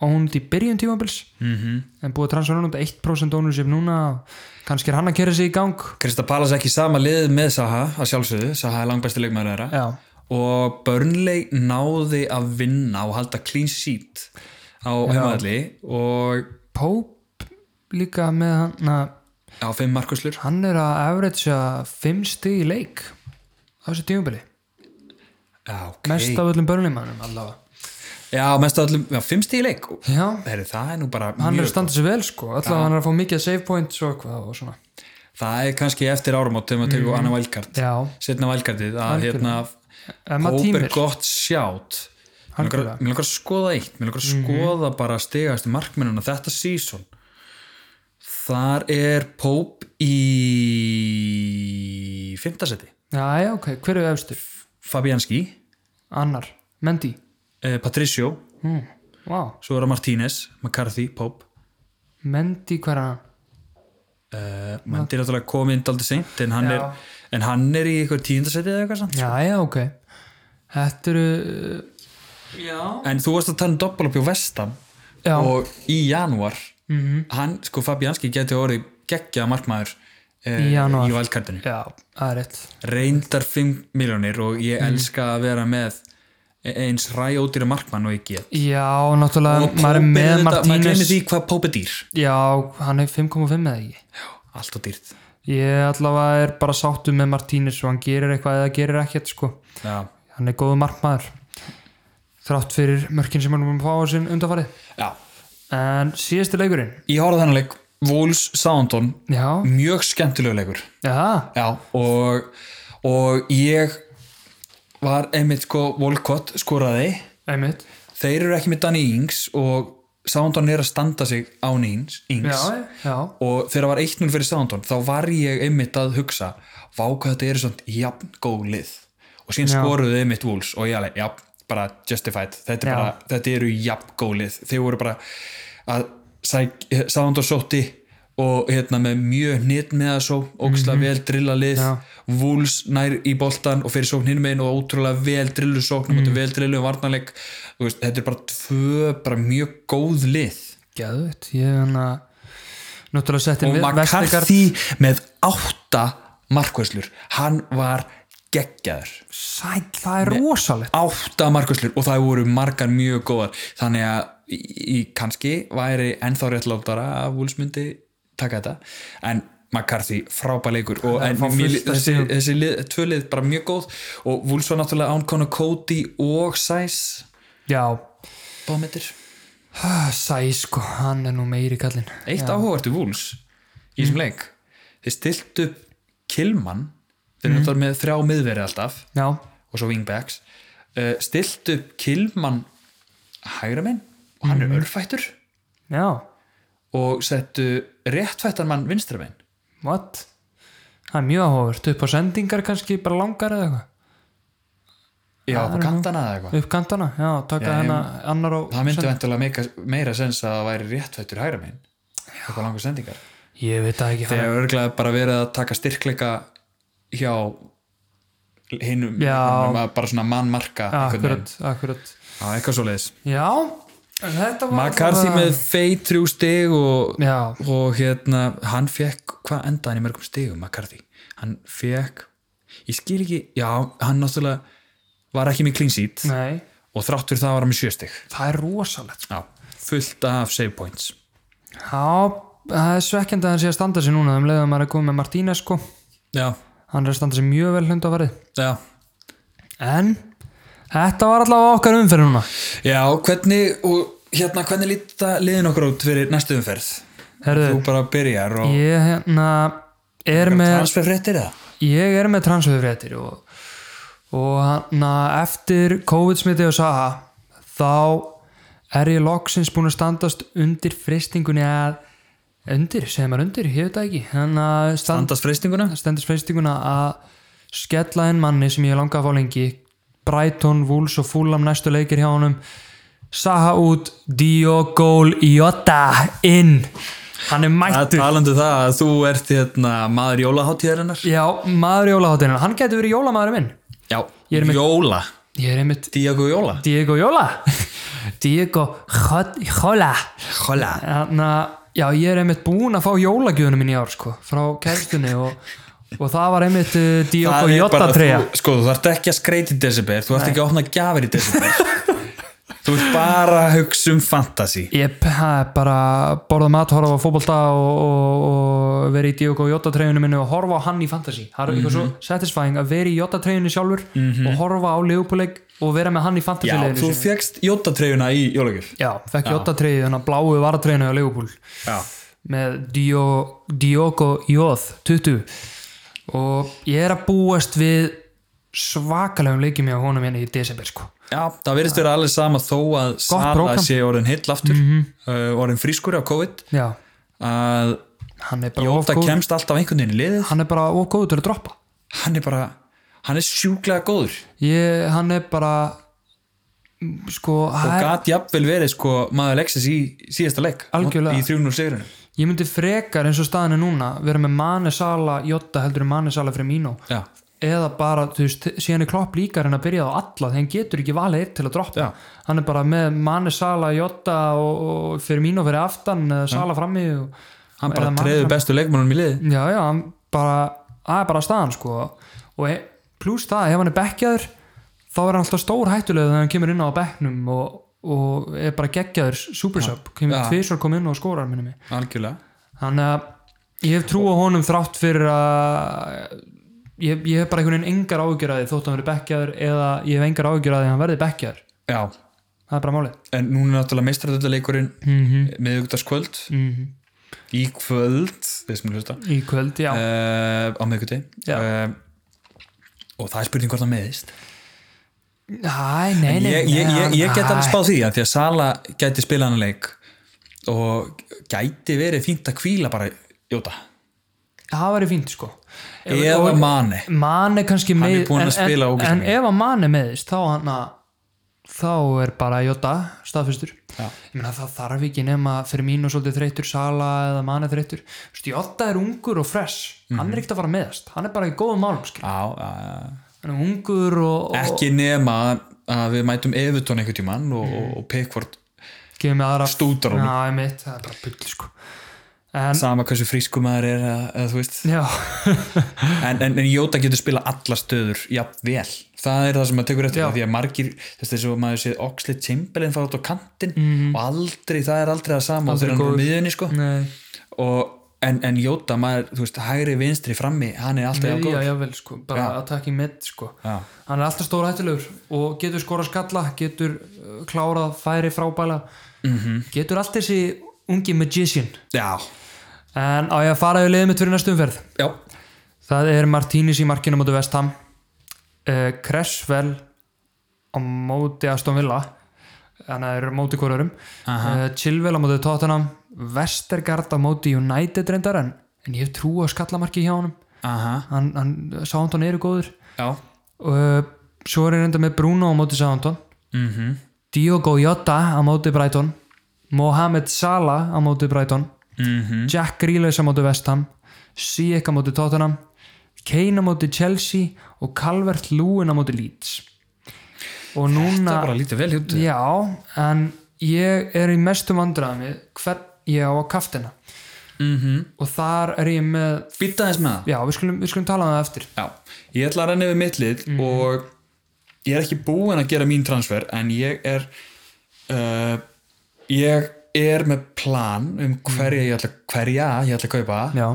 Speaker 2: ónd í byrjun tímabils
Speaker 1: Mhm.
Speaker 2: -hmm. en búið að transferunum 1% ónur sem núna kannski er hann að kera sig í gang
Speaker 1: Krista Palas ekki sama liðið með Saha að sjálfsögðu, Saha er langbæsti leikmaður þeirra
Speaker 2: Já.
Speaker 1: og Burnley náði að vinna og halda clean sheet á heimaðalli og
Speaker 2: Pope líka með hann að
Speaker 1: á fimm markuslur
Speaker 2: hann er að averagea 5 stig í leik á þessu tímabili
Speaker 1: já, ok.
Speaker 2: mest af öllum börnleimannum allavega
Speaker 1: já, mest af öllum, já, fimm stíð í leik
Speaker 2: já,
Speaker 1: Heri, það er nú bara
Speaker 2: hann er
Speaker 1: mjög
Speaker 2: að standa sér vel sko allavega hann er að fá mikið save points og eitthvað og svona
Speaker 1: það er kannski eftir áramót þegar maður tekur mm. annað vælkart
Speaker 2: já,
Speaker 1: setna vælkartið að hérna
Speaker 2: en maður
Speaker 1: hóper
Speaker 2: tímir
Speaker 1: gott sjátt mér langar
Speaker 2: Algjörlega. Mhm.
Speaker 1: mér langar að skoða eitt mér langar að skoða bara stigastu markmennuna þetta season þar er Pope í fymtasetti
Speaker 2: já, já, ok, hver er efstur?
Speaker 1: Fabianski,
Speaker 2: annar, Mendy
Speaker 1: eh, Patricio
Speaker 2: hmm. wow.
Speaker 1: svo er það Martínez, McCarthy, Pope
Speaker 2: Mendy, hver er hann?
Speaker 1: eh, Mendy er náttúrulega komið inn aldrei seint en hann, er,
Speaker 2: Já.
Speaker 1: en hann er í eitthvað tíundasetti eða eitthvað samt
Speaker 2: já, já, ok þetta eru uh, já,
Speaker 1: en þú varst að tala um doppel upp hjá Vestam
Speaker 2: já, Mhm.
Speaker 1: og í janúar hann, sko Fabianski geti orðið geggja markmaður eh,
Speaker 2: Í janúar.
Speaker 1: í valkartinu
Speaker 2: já, það er rétt
Speaker 1: reyndar 5 miljónir og ég
Speaker 2: Mhm.
Speaker 1: elska að vera með e- eins ræjótýra markmann og ég get
Speaker 2: já, náttúrulega, maður
Speaker 1: Pope
Speaker 2: er með
Speaker 1: auðvitað- maður glemir
Speaker 2: Martínez
Speaker 1: því hvað Pope er dýr
Speaker 2: já, hann er 5,5 eða ekki
Speaker 1: allt og dýrt
Speaker 2: Ég allavega er bara sáttu með Martínez og hann gerir eitthvað eða gerir ekkert sko.
Speaker 1: já.
Speaker 2: Hann er góðu markmaður þrátt fyrir mörkin sem hann er búinn að fá á sinn undanfarið.
Speaker 1: já,
Speaker 2: En síðasti leikurinn,
Speaker 1: ég horfði á þennan leik Wolves Soundon,
Speaker 2: já,
Speaker 1: mjög skemmtilegu leikur
Speaker 2: já,
Speaker 1: já, og, og ég var einmitt sko Volkott skoraði
Speaker 2: einmitt,
Speaker 1: þeir eru ekki með Danny Ings og Soundon er að standa sig án Ings,
Speaker 2: já,
Speaker 1: Ings.
Speaker 2: já,
Speaker 1: og þegar það var 1-0 fyrir Soundon þá var ég einmitt að hugsa vá hvað þetta eru svona jafn góð lið og síðan
Speaker 2: Já.
Speaker 1: skoruðu einmitt Wolves og ég alveg, já, bara justified þetta, er
Speaker 2: Já.
Speaker 1: bara, þetta eru jafn góð lið þeir voru bara að sæk- Sound og Sotti og hérna með mjög hnit með það svo óksla vel drilla lið
Speaker 2: Mhm. Já.
Speaker 1: Wolves nær í boltan og fyrir sókn hinn megin og ótrúlega vel drillu sóknum
Speaker 2: Mhm.
Speaker 1: mm. vel drillu varnarleik Þú veist, þetta er bara tvö bara mjög góð lið
Speaker 2: Gæðut, ég er hann að náttúrulega sett inn
Speaker 1: og
Speaker 2: Vestergaard.
Speaker 1: McCarthy með átta markvæslur hann var geggjaður
Speaker 2: Sæl, það er rosalegt
Speaker 1: átta markvæslur og það voru margar mjög góðar þannig að í, í kannski væri ennþá réttlátara að Wolves myndi taka þetta en McCarthy frábær leikur og en,
Speaker 2: fá fullt
Speaker 1: mér,
Speaker 2: af
Speaker 1: þessi,
Speaker 2: stigum.
Speaker 1: þessi lið, tvö lið bara mjög góð og Wolves var náttúrulega án konu Cody og Sæs
Speaker 2: Já,
Speaker 1: báðmyndir
Speaker 2: Ah, Sæ sko, hann er nú meiri kallinn
Speaker 1: Eitt áhugavertu vúls í þessum leik þeir stilt upp Kilman þeir eru náttúrulega með þrjá miðveri alltaf
Speaker 2: Já,
Speaker 1: og svo wingbacks uh, stilt upp Kilman hægra minn og hann er örfættur
Speaker 2: já,
Speaker 1: og settu réttfættan mann vinstra minn
Speaker 2: what? Það er mjög áhugavert, upp á sendingar kannski, bara langar eða eitthvað
Speaker 1: Ah, já,
Speaker 2: I
Speaker 1: á
Speaker 2: don't
Speaker 1: kantana eða eitthvað
Speaker 2: Upp kantana, já, taka
Speaker 1: Já, ég-
Speaker 2: hana annar á
Speaker 1: það myndi vendilega meika, meira sens að það væri réttfættur hægra minn eitthvað langar sendingar
Speaker 2: Ég veit það ekki
Speaker 1: þegar örglega bara verið að taka styrkleika hjá hinum,
Speaker 2: Já.
Speaker 1: hinum að bara svona mannmarka
Speaker 2: hann-
Speaker 1: einhvern veginn.
Speaker 2: Akkurat, akkurat
Speaker 1: Já, eitthvað svo leiðis
Speaker 2: Já, en þetta var
Speaker 1: McCarthy
Speaker 2: allavega-
Speaker 1: með feit þrjú stig og,
Speaker 2: Já,
Speaker 1: og hérna hann fekk, hvað endaði hann í mörgum stigum McCarthy, hann fekk ég skil ekki, já, hann náttúrulega var ekki með clean sheet
Speaker 2: nei,
Speaker 1: og þrátt fyrir það var hann með sjö stig
Speaker 2: það er rosalegt sko.
Speaker 1: já, fullt af save points
Speaker 2: Já, það er svekkjandi að hann sé að standa sig núna um leiðum að maður er komið með Martínez sko
Speaker 1: já,
Speaker 2: Hann er að standa sig mjög vel hund á varðið
Speaker 1: já
Speaker 2: En þetta var allavega okkar umferð núna
Speaker 1: já, hvernig, og hérna hvernig líta liðin okkur út fyrir næstu umferð
Speaker 2: Herðu,
Speaker 1: þú bara byrjar og
Speaker 2: ég hérna er með,
Speaker 1: transferfréttir það
Speaker 2: ég er með transferfréttir og, og hann eftir COVID-smiti og Saha þá er ég loksins búin að standast undir fristingunni að undir, segir maður undir, ég veit það ekki hann að stand,
Speaker 1: andast freystinguna
Speaker 2: standast fristinguna að skella inn manni sem ég langa að fá lengi Brighton, Wolves og Fulham næstu leikir hjá honum Saha út, Diogo Jota inn hann er mættur
Speaker 1: talandu það að þú ert hérna maður jólaháttíðarinnar
Speaker 2: Já, maður jólaháttinina, hann getur verið jólamæður minn
Speaker 1: já,
Speaker 2: Ég er með-
Speaker 1: jóla
Speaker 2: Ég er einmitt
Speaker 1: Diego Jóla
Speaker 2: Diego Jóla Diego Jot- Jóla
Speaker 1: Jóla
Speaker 2: Þannig að, Hérna, já, ég er einmitt búinn að fá jólagjöðunum minn í ár, sko Frá kerstunni og, og það var einmitt uh, Diego Jota treyja
Speaker 1: þú, sko, þú þarft ekki að skreita í December þú þarft ekki að opna gjafir í December þú ert bara að hugsa um fantasy
Speaker 2: Ég bara borða mat, horfa á fótbolta og, og, og vera í Diego Jota treyjunum minni og horfa á hann í fantasy Það er
Speaker 1: Mhm.
Speaker 2: eitthvað svo satisfying að vera í Jota treyjunni sjálfur og horfa á leifupúleik og vera með hann í fantasy
Speaker 1: já,
Speaker 2: leiðinu
Speaker 1: þú fegst jótatreyjuna í jólagjöf
Speaker 2: Já, fekk Jota-treyju, þannig að bláu varatreyjuna á Leopold
Speaker 1: já,
Speaker 2: með Dio, Diogo Jóð 20 og ég er að búast við svakalegum leikjum hjá honum hérna í desember sko.
Speaker 1: já það verðist vera alveg sama þó að Sala
Speaker 2: prógram. Mhm.
Speaker 1: sé orðin heill aftur uh, orðin frískur á COVID
Speaker 2: Já,
Speaker 1: að
Speaker 2: hann er bara of
Speaker 1: Jóta
Speaker 2: góð-
Speaker 1: kemst alltaf einhvern veginn í liðið
Speaker 2: hann er bara ógóður til að droppa
Speaker 1: hann er bara, hann er sjúklega góður
Speaker 2: ég, hann er bara mm, sko,
Speaker 1: og
Speaker 2: hann er,
Speaker 1: gat jafnvel verið sko maður leiksis í síðasta leik
Speaker 2: Algjörlega.
Speaker 1: í 300 sigrunum
Speaker 2: ég myndi frekar eins og staðinu núna vera með Mane Sala Jota heldur en Mane Sala fyrir Mino
Speaker 1: já,
Speaker 2: eða bara, þú veist, síðan er klopp líka að reyna að byrja á alla, þegar hann getur ekki valið eitt til að droppa,
Speaker 1: Já.
Speaker 2: hann er bara með Mane, Sala, Jota og, og fyrir mín og fyrir aftan, eða Sala frammi og,
Speaker 1: hann
Speaker 2: Eða
Speaker 1: bara
Speaker 2: Mane
Speaker 1: treður bestu leikmannum í liðið
Speaker 2: já, já, hann bara það er bara staðan, sko og e, pluss það, ef hann er bekkjaður þá er hann alltaf stór hættulega þegar hann kemur inn á bekknum og, og er bara geggjaður supersub, kemur
Speaker 1: Já.
Speaker 2: tvisvar kom inn og skórar minni mig,
Speaker 1: algjörlega
Speaker 2: þannig að ég hef trú á honum þrátt fyrir að ég, ég hef bara einhvern veginn engar ágjörði þótt að hann verið bekkjaður eða ég hef engar ágjörði að hann verði bekkjaður
Speaker 1: já,
Speaker 2: það er bara málið
Speaker 1: en núna er náttúrulega meistradöldaleikurinn mm -hmm. miðugudagskvöld
Speaker 2: Mhm.
Speaker 1: í kvöld, þeir sem hlusta
Speaker 2: í kvöld, já,
Speaker 1: uh, á miðugudegi
Speaker 2: Já.
Speaker 1: uh, og það er spurning hvort það meðist
Speaker 2: hæ, nei, nei
Speaker 1: ég, ég, ég, ég get
Speaker 2: nei.
Speaker 1: alveg spáð því að því að Sala gæti spila hann leik og gæti verið fínt að kvíla bara Jóta
Speaker 2: það væri fínt sko
Speaker 1: eða
Speaker 2: Og-
Speaker 1: Mane
Speaker 2: Mane kannski
Speaker 1: er
Speaker 2: með
Speaker 1: búinn að
Speaker 2: en,
Speaker 1: spila
Speaker 2: en,
Speaker 1: ógeðslega
Speaker 2: en
Speaker 1: mikið.
Speaker 2: ef að Mane meðist þá hann að þá er bara Jota staðfyrstur
Speaker 1: Já.
Speaker 2: ég meina það þarf ekki nema fyrir mínu svolítið þreyttur, Sala eða manið þreyttur þú veist, Jóta er ungur og fresh hann
Speaker 1: Mhm.
Speaker 2: er ekkert að fara meðast, hann er bara í góðum málum skil.
Speaker 1: Já, já, já.
Speaker 2: hann er ungur og, og
Speaker 1: ekki nema að við mætum Evertón einhvern tímann og, mm.
Speaker 2: Mhm.
Speaker 1: og Pickford
Speaker 2: gefur mig aðra
Speaker 1: Stútar honum.
Speaker 2: Já, einmitt, það er bara bull sko en,
Speaker 1: sama hversu frísku maður er eða, eða, þú veist.
Speaker 2: já,
Speaker 1: en, en, en Jóta getur spila alla stöður jafn vel, það er það sem maður tekur eftir
Speaker 2: Já.
Speaker 1: því að margir, þess að maður séð Oxley Chamberlain fara út á kantinn mm. og aldrei, það er aldrei það sama og
Speaker 2: Mhm.
Speaker 1: þegar
Speaker 2: Aldrei
Speaker 1: hann er
Speaker 2: góður.
Speaker 1: á miðunni sko
Speaker 2: nei,
Speaker 1: og, en, en Jóta, maður, þú veist, hægri vinstri frammi, hann er alltaf jafn
Speaker 2: miðja,
Speaker 1: góð
Speaker 2: jável sko bara
Speaker 1: Já.
Speaker 2: að taka í mitt sko
Speaker 1: Já.
Speaker 2: hann er alltaf stóra hættulegur og getur skora skalla getur uh, klárað færi frábæla -hmm.
Speaker 1: Mhm.
Speaker 2: getur allt þessi ungi magician
Speaker 1: Já,
Speaker 2: en á ég að fara yfir liðið mitt fyrir næstu umferð
Speaker 1: já,
Speaker 2: það er Martínis í markinu á móti Vestham uh, Cresswell á móti Aston Villa þannig að það eru á móti hvorurum uh, Chilwell á móti Tottenham Vestergaard á móti United reyndar en, en ég hef trú á skallamarki hjá honum
Speaker 1: aha,
Speaker 2: hann, hann, Soundon eru góður
Speaker 1: já
Speaker 2: uh, svo er ég reynda með Bruno á móti Soundon
Speaker 1: mm -hmm.
Speaker 2: Diogo Jota á móti Brighton Mohamed Salah á móti Brighton
Speaker 1: Mhm. Mm.
Speaker 2: Jack Grealish á móti Vestham Sijek á móti Tottenham Kane á móti Chelsea og Calvert Lúin á móti Leeds
Speaker 1: Það
Speaker 2: og
Speaker 1: er
Speaker 2: núna
Speaker 1: bara lítið vel hjútið
Speaker 2: já, en ég er í mestum vandræðum við hvern ég á að kaftina
Speaker 1: mm -hmm.
Speaker 2: og þar er ég með
Speaker 1: Býta þess með það
Speaker 2: já, við skulum, við skulum tala um það eftir
Speaker 1: Já, ég ætla að renna yfir mitt lið og ég er ekki búinn að gera mín transfer en ég er uh, ég er með plan um hverja ég ætla, hverja ég ætla að kaupa
Speaker 2: já,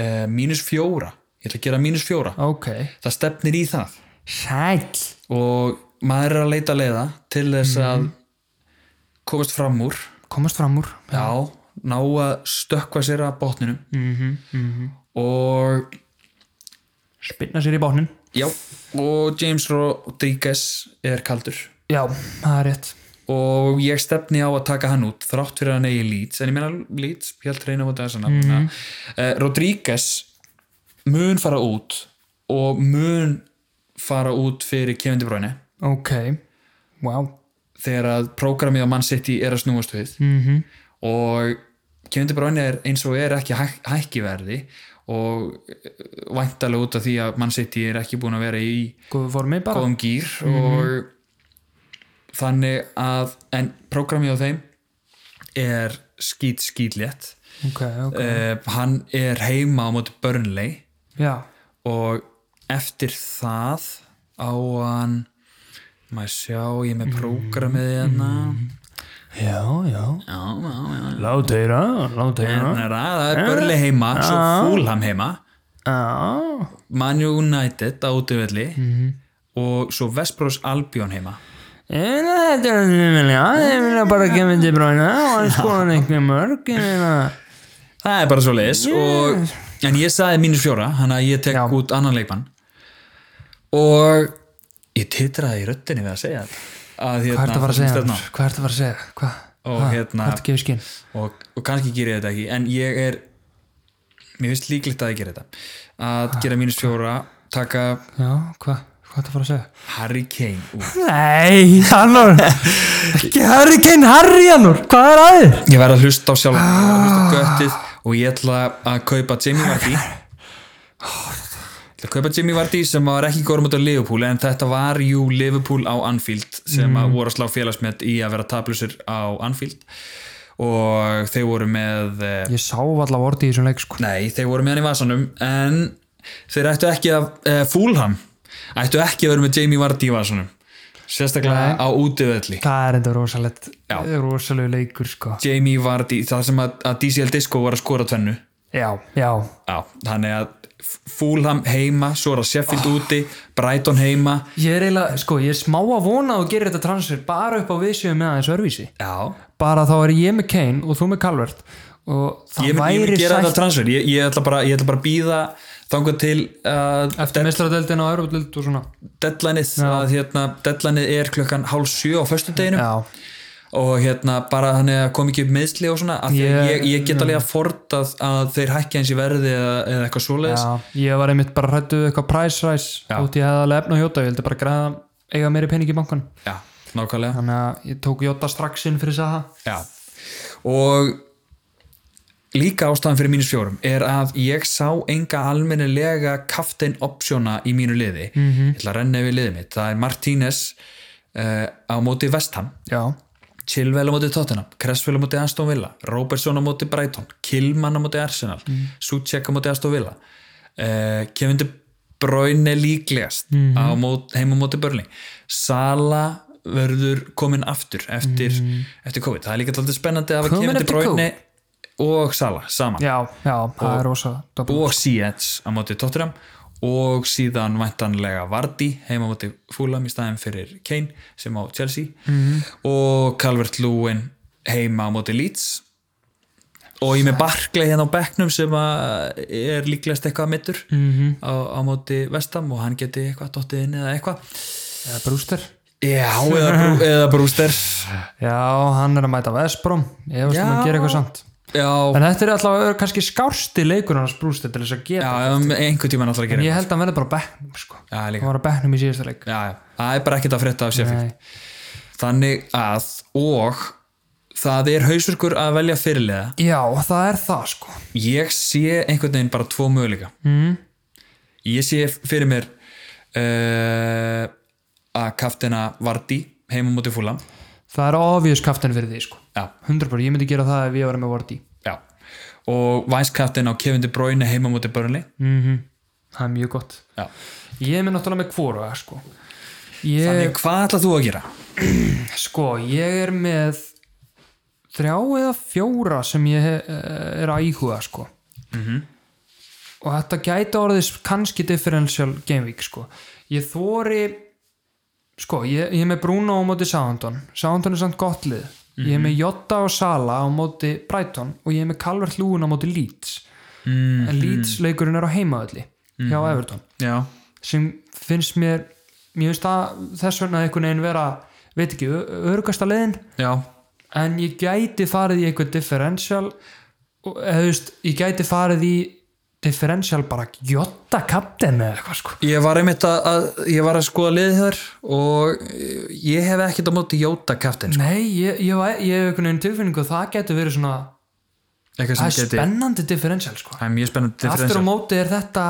Speaker 1: uh, mínus fjóra, ég ætla að gera mínus fjóra
Speaker 2: ok
Speaker 1: það stefnir í það
Speaker 2: sæl
Speaker 1: og maður er að leita leiða til þess að komast fram úr
Speaker 2: komast fram úr
Speaker 1: já, ná að stökkva sér að botninum
Speaker 2: mm -hmm,
Speaker 1: og
Speaker 2: spinna sér í bátnin
Speaker 1: já, og James Rodriguez er kaldur
Speaker 2: já, það er rétt
Speaker 1: og ég stefni á að taka hann út þrátt fyrir að hann eigi Leeds en ég meina Leeds, ég held reyna á þetta mm -hmm. uh, Rodríguez mun fara út og mun fara út fyrir Kevin De Bruyne
Speaker 2: ok, wow
Speaker 1: þegar að prógramið á Man City er að snúast við
Speaker 2: mm -hmm.
Speaker 1: og Kevin De Bruyne er eins og er ekki hæk, hækkiverði og væntalega út af því að Man City er ekki búin að vera í
Speaker 2: góðu formi bara
Speaker 1: góðum gýr og þannig að en prógramið á þeim er skýt skýtlétt
Speaker 2: ok, ok,
Speaker 1: uh, hann er heima á móti Burnley
Speaker 2: já,
Speaker 1: og eftir það á hann maður sjá ég er með prógramið hérna
Speaker 2: já, já
Speaker 1: já, já, já Eh?
Speaker 2: láteira,
Speaker 1: En
Speaker 2: láteira
Speaker 1: Hérna er að- það er Burnley heima, svo Fulham heima
Speaker 2: já,
Speaker 1: Man United á útivelli og svo Vestbrós Albion heima
Speaker 2: en þetta er það sem vilja þeir vilja bara kemur til brána og hann skoðan ekki mörg ég meina.
Speaker 1: Það er bara svo leiðis og en ég saði mínus fjóra þannig að ég tek
Speaker 2: Já.
Speaker 1: út annan leikmann og ég titraði í röddinni við að segja þetta að
Speaker 2: hvað ertu að fara að segja
Speaker 1: það sem
Speaker 2: annars? hvað ertu að fara að segja, hvað
Speaker 1: Og
Speaker 2: Hvað?
Speaker 1: hérna-
Speaker 2: hvað ertu að gefa skinn
Speaker 1: stefna á. og, og kannski ger ég þetta ekki en ég er mér finnst líklegt að ég gera þetta að gera mínus fjóra taka
Speaker 2: já, hvað, hvað ertu að fara að segja
Speaker 1: Harry Kane út.
Speaker 2: nei, Hannur ekki Harry Kane, Harry Hannur hvað er aðeins?
Speaker 1: ég verð að hlusta á sjálf ah. hlusta á göttið og ég ætla að kaupa Jimmy Vardy ég ætla að kaupa Jimmy Vardy sem var ekki góður mútið á Liverpool en þetta var jú Liverpool á Anfield sem að voru að slá félagsmet í að vera tablusir á Anfield og þeir voru með eh,
Speaker 2: ég sá alltaf orði í þessum leik sko
Speaker 1: nei, þeir voru með hann í vasanum en þeir ættu ekki að e, fúlham, ættu ekki að vera með Jamie Vardy í vasanum sérstaklega á útivelli
Speaker 2: það er enda rosalegt
Speaker 1: Já.
Speaker 2: rosalegu leikur sko
Speaker 1: Jamie Vardy, það sem að, að DCL Disco var að skora tvennu
Speaker 2: já, já,
Speaker 1: Já, þannig að Fulham heima, svo er það Sheffield úti Brighton heima
Speaker 2: Ég er eiginlega, sko, ég er smá að vona að þú gerir þetta transfer bara upp á viðsjöfum með aðeins örvísi.
Speaker 1: Já,
Speaker 2: Bara þá er ég með Kane og þú með Calvert og það
Speaker 1: ég mun, ég mun
Speaker 2: væri
Speaker 1: gera þetta
Speaker 2: sætt
Speaker 1: transfer ég, ég ætla bara, ég ætla bara að býða þangað til uh,
Speaker 2: eftir mestradeldin og eurodeldin og svona.
Speaker 1: deadlineið að, hérna, deadlineið er klukkan hálf sjö á föstudeginu
Speaker 2: Já,
Speaker 1: og hérna bara þannig að kom ekki upp meðsli og svona að yeah,
Speaker 2: Ég-
Speaker 1: ég, ég get alveg að fortað að þeir hækki eins í verði eða, eða eitthvað svoleiðis
Speaker 2: já, ég var einmitt bara hrættuð eitthvað price rise
Speaker 1: Já.
Speaker 2: út í hefðalega efna hjóta, ég vildi bara græða eiga meiri pening í bankan.
Speaker 1: Já. nákvæmlega
Speaker 2: þannig að ég tók Jota strax inn fyrir Saha
Speaker 1: Já. og líka ástæðan fyrir mínus fjórum er að ég sá enga almennilega kaftin optiona í mínu liði ég ætla að renna yfir liðið mitt það er Martínez uh, á móti Vestham
Speaker 2: já,
Speaker 1: Chilwell á móti Tottenham, Cresswell á móti Aston Villa Robertson á móti Brighton Kilman á móti Arsenal, mm. á móti Aston Villa uh, Kevin De Bruyne líklegast mm
Speaker 2: Mhm.
Speaker 1: -hmm. móti, heim á móti Börling Sala verður komin aftur eftir, eftir COVID það er líka alltaf spennandi að hafa
Speaker 2: Mhm. Kominn
Speaker 1: Kevin De
Speaker 2: eftir
Speaker 1: Bruyne og Sala saman
Speaker 2: já, já, það er rosa dobbul.
Speaker 1: og Sietz á móti Tottenham og síðan væntanlega Vardy heima á móti Fulham í staðin fyrir Kane sem á Chelsea og Calvert Lewin heima á móti Leeds og ég er með Barkley hérna á bekknum sem að er líklegast eitthvað mittur -hmm. á, á móti Vestam og hann geti eitthvað dottið inn eða eitthvað
Speaker 2: eða Brewster
Speaker 1: Já, eða, brú, eða Brewster
Speaker 2: já, hann er að mæta Vesbrom ég veist um
Speaker 1: Já.
Speaker 2: að gera eitthvað samt
Speaker 1: Já,
Speaker 2: en þetta er allavega kannski skársti leikur hans Brewster til þess að
Speaker 1: já
Speaker 2: gera
Speaker 1: um einhvern tímann alltaf að gera
Speaker 2: en ég
Speaker 1: eitthvað.
Speaker 2: held að hann verði bara á bekknum sko.
Speaker 1: Já, líka
Speaker 2: hann var á bekknum í síðasta leik
Speaker 1: já, já. það er bara ekkert að frétta af Sheffield
Speaker 2: Nei.
Speaker 1: þannig að og það er hausverkur að velja fyrirlega
Speaker 2: já, það er það sko
Speaker 1: ég sé einhvern veginn bara tvo möguleika mm. ég sé fyrir mér uh, að kaftina Vardí heima á móti fúlam
Speaker 2: það er obvious kaftin fyrir því sko
Speaker 1: já,
Speaker 2: 100% ég myndi gera það ef ég var með Vorti
Speaker 1: já og væskaftin á Kevin De Bruyne heima á móti Burnley
Speaker 2: mm
Speaker 1: Mhm.
Speaker 2: það er mjög gott
Speaker 1: já.
Speaker 2: ég er með náttúrulega með kvóra sko ég,
Speaker 1: þannig hvað ætlað þú að gera?
Speaker 2: sko, ég er með þrjá eða fjóra sem ég eh, er að íhuga sko og þetta gæti orðið kannski differential game week sko ég þóri sko, ég, ég er með Bruno á móti Soundon Soundon er samt gott lið ég er með Jota og Sala á móti Brighton og ég er með Calvert Lúin á móti Leeds
Speaker 1: Mm,
Speaker 2: en Leeds leikurinn er á heimaðalli hjá Everton
Speaker 1: já,
Speaker 2: sem finnst mér mér finnst það þess vegna einhvern veginn vera veit ekki, örgasta leiðin
Speaker 1: já,
Speaker 2: en ég gæti farið í eitthvað differential og, eða þú veist, ég gæti farið í differential bara jotta kapten eða eitthvað sko
Speaker 1: ég var einmitt að, að ég var að skoða liðið þar og ég hef ekkert á móti Jóta sko. kaftin
Speaker 2: nei, ég, ég, væ- ég hef einhvern veginn tilfinningu að það gæti verið svona
Speaker 1: eitthvað
Speaker 2: það
Speaker 1: sem
Speaker 2: er
Speaker 1: geti
Speaker 2: spennandi differential sko
Speaker 1: það er mjög spennandi
Speaker 2: aftur á
Speaker 1: differential.
Speaker 2: móti er þetta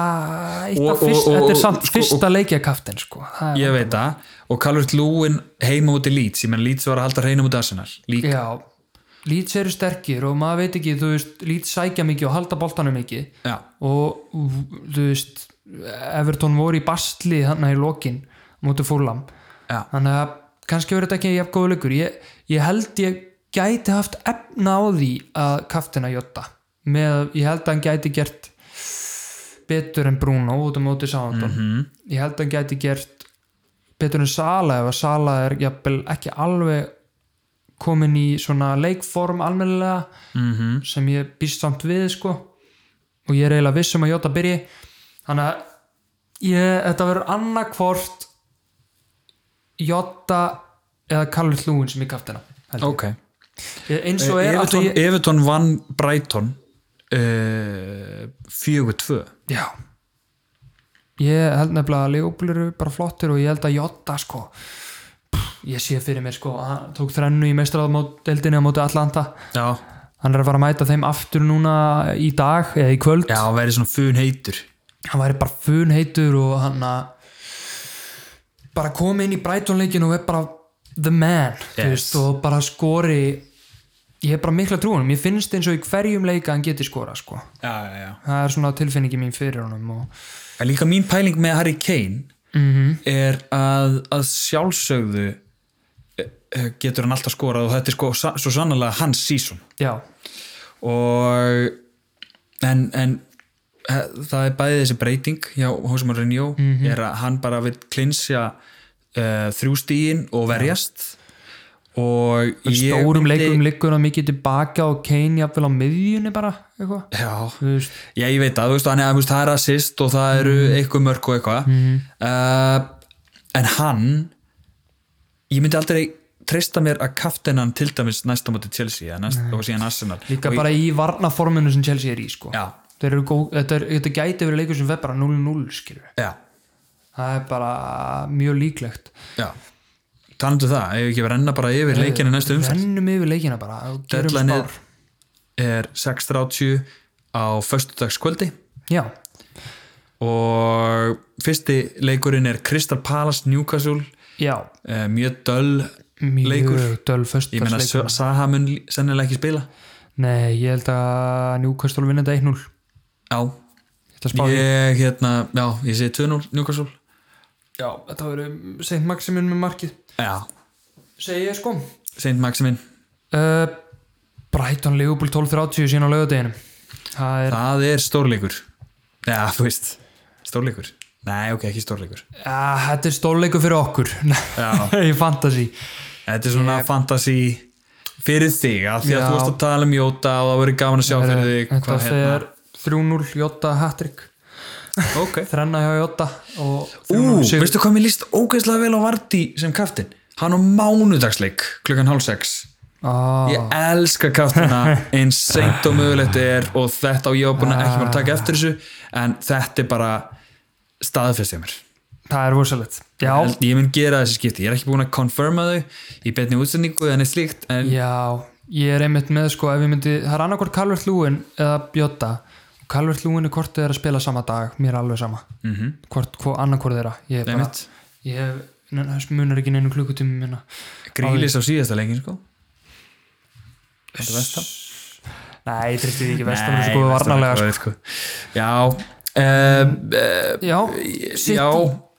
Speaker 2: eitt
Speaker 1: Og-
Speaker 2: af
Speaker 1: og-
Speaker 2: fyrst,
Speaker 1: og-
Speaker 2: þetta
Speaker 1: og-
Speaker 2: er samt
Speaker 1: sko,
Speaker 2: fyrsta leikja kapten sko það er,
Speaker 1: Ég veit það, og Calvert Lúin heima út í Leeds, ég menn Leeds var að halda hreina út í Arsenal líka,
Speaker 2: já, lýts eru sterkir og maður veit ekki, þú veist, lýts sækja mikið og halda boltanum mikið
Speaker 1: já,
Speaker 2: og þú veist Everton voru í bastli hann í lokin mútu fúlam
Speaker 1: já,
Speaker 2: þannig að kannski verður þetta ekki jafn góðu leikur ég, ég held ég gæti haft efna á því að kaftina Jota með, ég held að hann gæti gert betur en Bruno út á móti Southampton ég held að hann gæti gert betur en Sala ef að Sala er jafnvel ekki alveg komin í svona leikform almennilega -hmm. sem ég býst samt við sko og ég er eiginlega viss um að Jota byrji þannig að ég, þetta verður annarkvort Jota eða Kallur Hlúin sem ég kaftina held
Speaker 1: ok
Speaker 2: ég. eins og er
Speaker 1: Eh, Everton,
Speaker 2: ég,
Speaker 1: Everton vann Brighton uh, 4-2
Speaker 2: já ég held nefnilega að Leopold eru bara flottir og ég held að Jota sko pff, ég sé fyrir mér sko að hann tók þrennu í meistaraðdeldinni á móti Atlanta
Speaker 1: já,
Speaker 2: hann er að fara að mæta þeim aftur núna í dag eða í kvöld
Speaker 1: já, verið svona fun heitur
Speaker 2: hann væri bara fun heitur og hann að bara komi inn í Brighton-leikin og er bara the man þú
Speaker 1: Yes.
Speaker 2: veist, og bara skori ég hef bara mikla trúanum, ég finnst eins og í hverjum leika hann geti skora sko.
Speaker 1: já, já, já
Speaker 2: það er svona tilfinningi mín fyrir honum og...
Speaker 1: En líka mín pæling með Harry Kane -hmm. er að, að sjálfsögðu eh, eh, getur hann alltaf skorað og þetta er sko, sa- svo sannlega hans season
Speaker 2: já,
Speaker 1: og en, en eh, það er bæði þessi breyting hjá Hósumar Renjó er að hann bara vil klinsja uh, þrjú stíin og verjast og ég
Speaker 2: stórum
Speaker 1: myndi-
Speaker 2: leikum liggur hann mikið tilbaka og Kane jafnvel á miðjunni bara eitthvað
Speaker 1: já,
Speaker 2: Þú veist,
Speaker 1: já, ég veit að, þú veist, hann, er- þú veist, það er assist og það eru eitthvað mörg og eitthvað uh, en hann ég myndi aldrei treysta mér að kaftinan til dæmis næsta móti Chelsea eða næst, og síðan Arsenal
Speaker 2: líka
Speaker 1: og ég,
Speaker 2: bara í varnaforminu sem Chelsea er í sko.
Speaker 1: já,
Speaker 2: Þeir eru góð, þetta, er, þetta gæti verið leikur sem veð bara 0-0 skilur
Speaker 1: já,
Speaker 2: það er bara mjög líklegt
Speaker 1: já talandu það, ef við ekki að renna bara yfir leikinu næstu umferð
Speaker 2: rennum Eh, yfir leikina bara og gerum
Speaker 1: Deadline er-
Speaker 2: spár.
Speaker 1: er 6.30 á föstudagskvöldi
Speaker 2: já,
Speaker 1: og fyrsti leikurinn er Crystal Palace Newcastle
Speaker 2: já,
Speaker 1: eh, mjög döll
Speaker 2: mjög
Speaker 1: leikur
Speaker 2: döl
Speaker 1: ég meina
Speaker 2: föstudagsleikur
Speaker 1: Saha mun lí- sennilega ekki spila
Speaker 2: nei, ég held að Newcastle vinna þetta 1-0
Speaker 1: já,
Speaker 2: Þetta spá ég...
Speaker 1: ég hérna já, ég segi 2-0 Newcastle
Speaker 2: Já, þetta verður Seint Maximin með markið
Speaker 1: já,
Speaker 2: segi ég sko
Speaker 1: Saint Maximin
Speaker 2: uh, Brighton Liverpool 12.30 síðan á laugadeginu það er,
Speaker 1: það er stórleikur já, þú veist, stórleikur nei, ok, ekki stórleikur
Speaker 2: að, Ah, þetta er stórleikur fyrir okkur
Speaker 1: Já.
Speaker 2: í fantasy
Speaker 1: Þetta er svona fantasy fyrir þig, af því að
Speaker 2: Já.
Speaker 1: þú varst að tala um Jóta og það verið gaman að sjá fyrir þig
Speaker 2: þetta
Speaker 1: hvað hérna.
Speaker 2: fer 3-0 Jota hat-trick
Speaker 1: Ok.
Speaker 2: þrenna hjá Jota og
Speaker 1: Ú,
Speaker 2: 3-0 sigur.
Speaker 1: veistu hvað mér líst ógeðslega vel á Vardí sem kaftin? Hann á mánudagsleik klukkan hálf sex.
Speaker 2: Ah,
Speaker 1: Ég elska kaftina eins seint og mögulegt er og þetta og ég var búin að ekki bara taka eftir þessu en þetta er bara staðfestið mér.
Speaker 2: það er rosalegt já,
Speaker 1: Held- Ég mun gera þessi skipti, ég er ekki búin að konfirma þau í betni útsendingu en er slíkt en
Speaker 2: já, ég er einmitt með sko ef ég myndi, það er annarkvort Calvert Lúin eða Jota og Calvert Lúin er hvort þau er að spila sama dag, mér er alveg sama mm
Speaker 1: Mhm.
Speaker 2: -hmm. hvort, hvort annarkvort þeirra ég er bara,
Speaker 1: Einmitt.
Speaker 2: ég hef- nein, það munar ekki neinu klukkutími minna
Speaker 1: grílis á síðasta leikin sko. Þetta versta.
Speaker 2: Nei, ég treysti því ekki vestan
Speaker 1: Nei,
Speaker 2: þessu góðu
Speaker 1: Vestam er
Speaker 2: varnarlega sko.
Speaker 1: góðir, sko. Já um,
Speaker 2: Já,
Speaker 1: uh,
Speaker 2: sitt
Speaker 1: Já,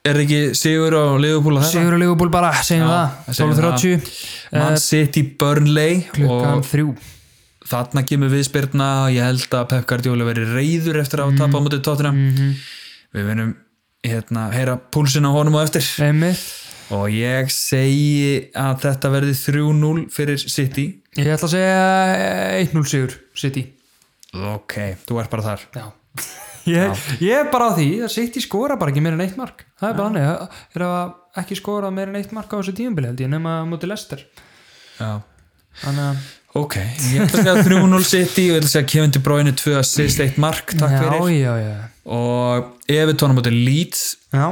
Speaker 1: er ekki Sigur og Liverpool að þetta?
Speaker 2: Sigur og Ligubúl bara, segjum
Speaker 1: það
Speaker 2: það
Speaker 1: segjum
Speaker 2: 12.30
Speaker 1: Man City Burnley
Speaker 2: klukkan
Speaker 1: og
Speaker 2: þrjú
Speaker 1: þarna kemur viðspyrna og ég held að Pep Guardiola veri reyður eftir að mm. tapa á mótið tóttina
Speaker 2: Mhm.
Speaker 1: Við verðum hérna, heyra púlsinn á honum á eftir
Speaker 2: einmitt,
Speaker 1: og ég segi að þetta verði 3-0 fyrir City
Speaker 2: ég ætla að segja 1-0 Sigur, City
Speaker 1: Ok, þú ert bara þar
Speaker 2: Já Ég, ég er bara á því að City skora bara ekki meira en eitt mark það er bara hannig, það er að ekki skora meira en eitt mark á þessu tíumbili held ég nema móti Lester
Speaker 1: Já
Speaker 2: þannig að
Speaker 1: Ok, ég ætla að segja 3-0 City og ég ætla að segja Kevin De Bruyne 2 assist 1 mark, takk
Speaker 2: já,
Speaker 1: fyrir
Speaker 2: já, já,
Speaker 1: og Everton á móti Leeds
Speaker 2: já,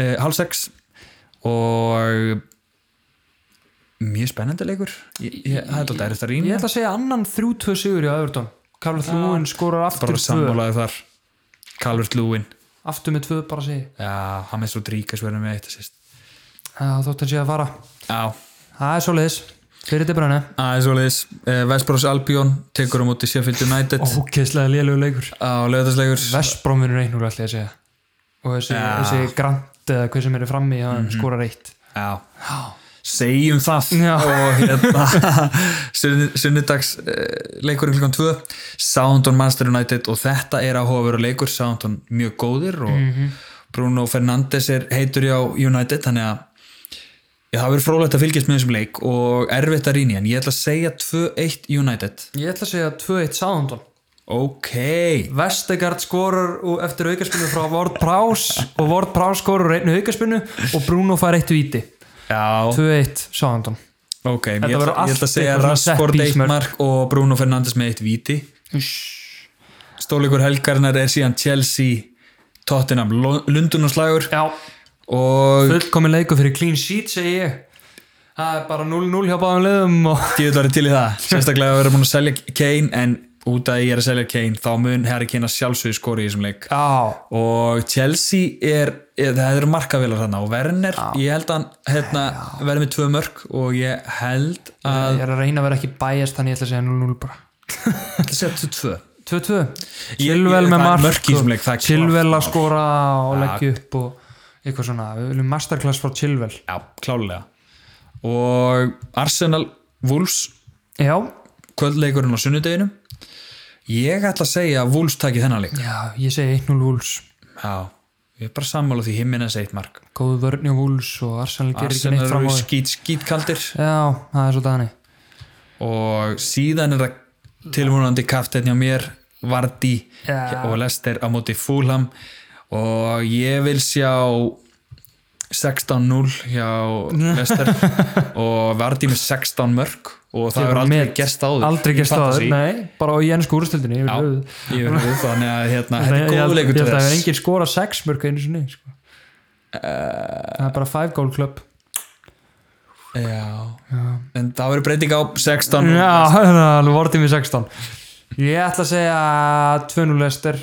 Speaker 1: eh, halv 6 og mjög spennandi leikur ég, ég, það er alltaf erist að
Speaker 2: ég
Speaker 1: rýna
Speaker 2: ætla að segja annan 3-2 Sigur í Överton Karla Þrúin skorar aftur
Speaker 1: bara
Speaker 2: tvö
Speaker 1: sammálaði þar Calvert Lúin
Speaker 2: aftur með tvö bara segi
Speaker 1: já, hann er svo dríka svo erum við eitt assist
Speaker 2: Já, þótt hann sé að fara
Speaker 1: já,
Speaker 2: Það er svoleiðis, fyrir til brenni
Speaker 1: aðeins og leiðis Vespros Albion tekur á móti Sheffield United
Speaker 2: Ókesslega lélegu leikur
Speaker 1: á löðarsleikur
Speaker 2: Vestbrom vinnur einn úr allir að segja Og þessi,
Speaker 1: Já.
Speaker 2: þessi grant eða hver sem eru frammi hann skorar eitt
Speaker 1: Já. segjum það
Speaker 2: Já.
Speaker 1: og hérna sunn- sunnudags eh, leikurinn klukkan 2 Soundon Manchester United og þetta er að hófur leikur, Soundon mjög góðir og Bruno Fernandes er heitur hjá United þannig að já, það verður frólægt að fylgjast með þessum leik og erfitt að rýna í hann, ég ætla að segja 2-1 United
Speaker 2: Ég ætla að segja 2-1 Southampton
Speaker 1: ok,
Speaker 2: Vestegard skorar og eftir aukaspinnu frá Ward Prowse og Ward Prowse skorar úr einu aukaspinnu og Bruno fær eitt víti
Speaker 1: já
Speaker 2: 2-1 Southampton
Speaker 1: ok, ég
Speaker 2: Þetta
Speaker 1: ætla, ég
Speaker 2: verður
Speaker 1: ætla
Speaker 2: allt
Speaker 1: að segja
Speaker 2: eitthvað svona set
Speaker 1: Rashford
Speaker 2: piece
Speaker 1: 1
Speaker 2: mörk.
Speaker 1: mark og Bruno Fernandes með 1 viti Stóleikur helgarinnar er síðan Chelsea, Tottenham, Lo- Lundun og slagur
Speaker 2: Já,
Speaker 1: og
Speaker 2: fullkomin leikur fyrir clean sheet segi ég Það er bara 0-0 hjá báðum liðum og
Speaker 1: dýðlar er til í það. Sérstaklega að vera búin að selja Kane en út af að ég er að selja Kane þá mun Harry Kane að sjálfsögðu skori í þessum leik.
Speaker 2: Já,
Speaker 1: Og Chelsea er, er það eru markavélar þarna og Werner, ég held að hann hérna, verði með tvö mörg og ég held að
Speaker 2: Ég er að reyna að vera ekki bæjast þannig ég ætla að segja 0-0 bara
Speaker 1: það setja tvö.
Speaker 2: 2-2
Speaker 1: Ég-
Speaker 2: Silvel
Speaker 1: ég- það
Speaker 2: með
Speaker 1: er mörk
Speaker 2: mark
Speaker 1: í þessum leik, það er klárt
Speaker 2: Silvel að
Speaker 1: mál.
Speaker 2: skora og leggja upp og eitthvað svona við viljum masterclass frá Silvel
Speaker 1: Já, klálega. Og Arsenal, Wolves
Speaker 2: Já,
Speaker 1: kvöldleikurinn á sunnudeginu ég ætla að segja að Wolves taki þennan leik
Speaker 2: já, ég segi 1-0 Wolves
Speaker 1: já, ég er bara sammála því himminnes eitt mark
Speaker 2: góðu vörni og Wolves og Arsenal gerir ekki
Speaker 1: Arsenal
Speaker 2: neitt fram á
Speaker 1: eru
Speaker 2: því
Speaker 1: skít, skítkaldir
Speaker 2: Já, það er svo dani
Speaker 1: og síðan er það tilvonandi kaftin hjá mér Vardy
Speaker 2: Já.
Speaker 1: og Lester á móti Fulham og ég vil sjá 16-0 hjá Lester og Vardy með 16 mörg og það
Speaker 2: Ég
Speaker 1: hefur
Speaker 2: var
Speaker 1: aldrei
Speaker 2: með-
Speaker 1: gerst áður
Speaker 2: Aldrei
Speaker 1: Í
Speaker 2: gerst á það,
Speaker 1: fantasy.
Speaker 2: nei, bara í ennsku úrstöldinni
Speaker 1: Já, ég verður þannig að hérna, þetta er
Speaker 2: Ég held
Speaker 1: góðu
Speaker 2: ég
Speaker 1: leikur
Speaker 2: held
Speaker 1: til
Speaker 2: að
Speaker 1: þess Eh.
Speaker 2: það er engin skora 6 mörg einu sinni sko. Það er bara 5 goal club
Speaker 1: Já. En það verður breyting á 16.
Speaker 2: Já, hann er alveg vortið með 16 Ég ætla að segja 2-0 Lester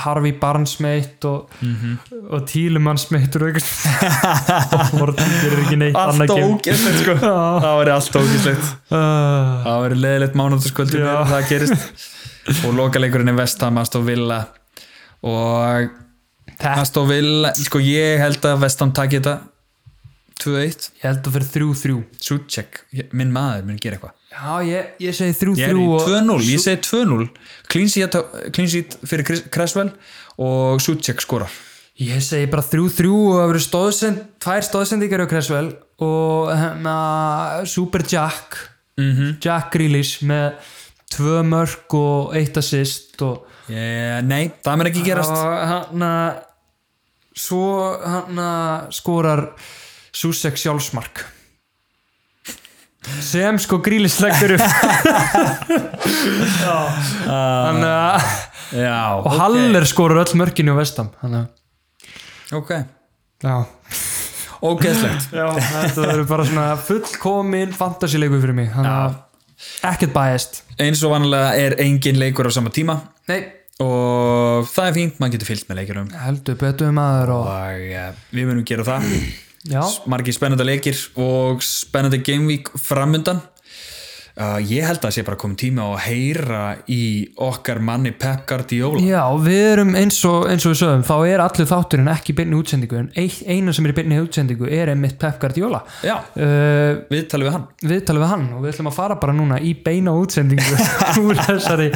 Speaker 2: Harvey Barnes með eitt og, mm
Speaker 1: Mhm.
Speaker 2: -hmm. og Tílumanns með eitt og eitthvað Vortið gerir ekki neitt
Speaker 1: Allt
Speaker 2: annað kem.
Speaker 1: ógæslegt sko.
Speaker 2: Já.
Speaker 1: Það verður allt ógæslegt.
Speaker 2: Uh,
Speaker 1: Það verður leðilegt mánutaskvöldur
Speaker 2: Já.
Speaker 1: ef það gerist. Og lokaleikurinn er Vestham, Aston Villa. Og
Speaker 2: Þetta
Speaker 1: Aston Villa, sko ég held að Vestham takki þetta 2-1.
Speaker 2: Ég held að fyrir 3-3
Speaker 1: Sútjekk, minn maður mun gera eitthvað.
Speaker 2: Já, ég, ég segi
Speaker 1: Ég er
Speaker 2: 3-3
Speaker 1: í
Speaker 2: og
Speaker 1: 2-0, ég segi 2-0. Clean sheet, clean sheet fyrir Chris- Cresswell og Sútjekk skorar.
Speaker 2: Ég segi bara 3-3 og það verður stóðsend, tvær stóðsendingar á Cresswell og hérna Super Jack
Speaker 1: Mhm.
Speaker 2: Jack Grealish með tvö mörk og eitt assist og
Speaker 1: Eh, Nei, það mun ekki gerast.
Speaker 2: og hérna svo hérna skorar Susek sjálfsmark sem sko Grealish leggur upp Þannig að
Speaker 1: Ah, Já,
Speaker 2: og Haller skorar öll mörkinu á vestam þannig að
Speaker 1: Ok,
Speaker 2: já
Speaker 1: ógeðslegt
Speaker 2: Já, þetta verður bara svona fullkomin fantasíleiku fyrir mig þannig
Speaker 1: Ah.
Speaker 2: að ekkert bæðist
Speaker 1: Eins og vanlega er engin leikur á sama tíma
Speaker 2: Nei,
Speaker 1: og það er fínt, maður getur fyllt með leikurum
Speaker 2: heldur betur maður og
Speaker 1: og ja, við munum gera það
Speaker 2: Já,
Speaker 1: margir spennandi leikir og spennandi gameweek framundan uh, ég held að það sé bara komið tíma á að heyra í okkar manni Pep Guardiola
Speaker 2: já við erum eins og, eins og við sögum þá er allir þátturinn ekki í beinni útsendingu en eitt- eina sem er í beinni útsendingu er einmitt Pep Guardiola
Speaker 1: Já,
Speaker 2: uh,
Speaker 1: við talum við hann
Speaker 2: Við við hann og við ætlum að fara bara núna í beina útsendingu úr þessari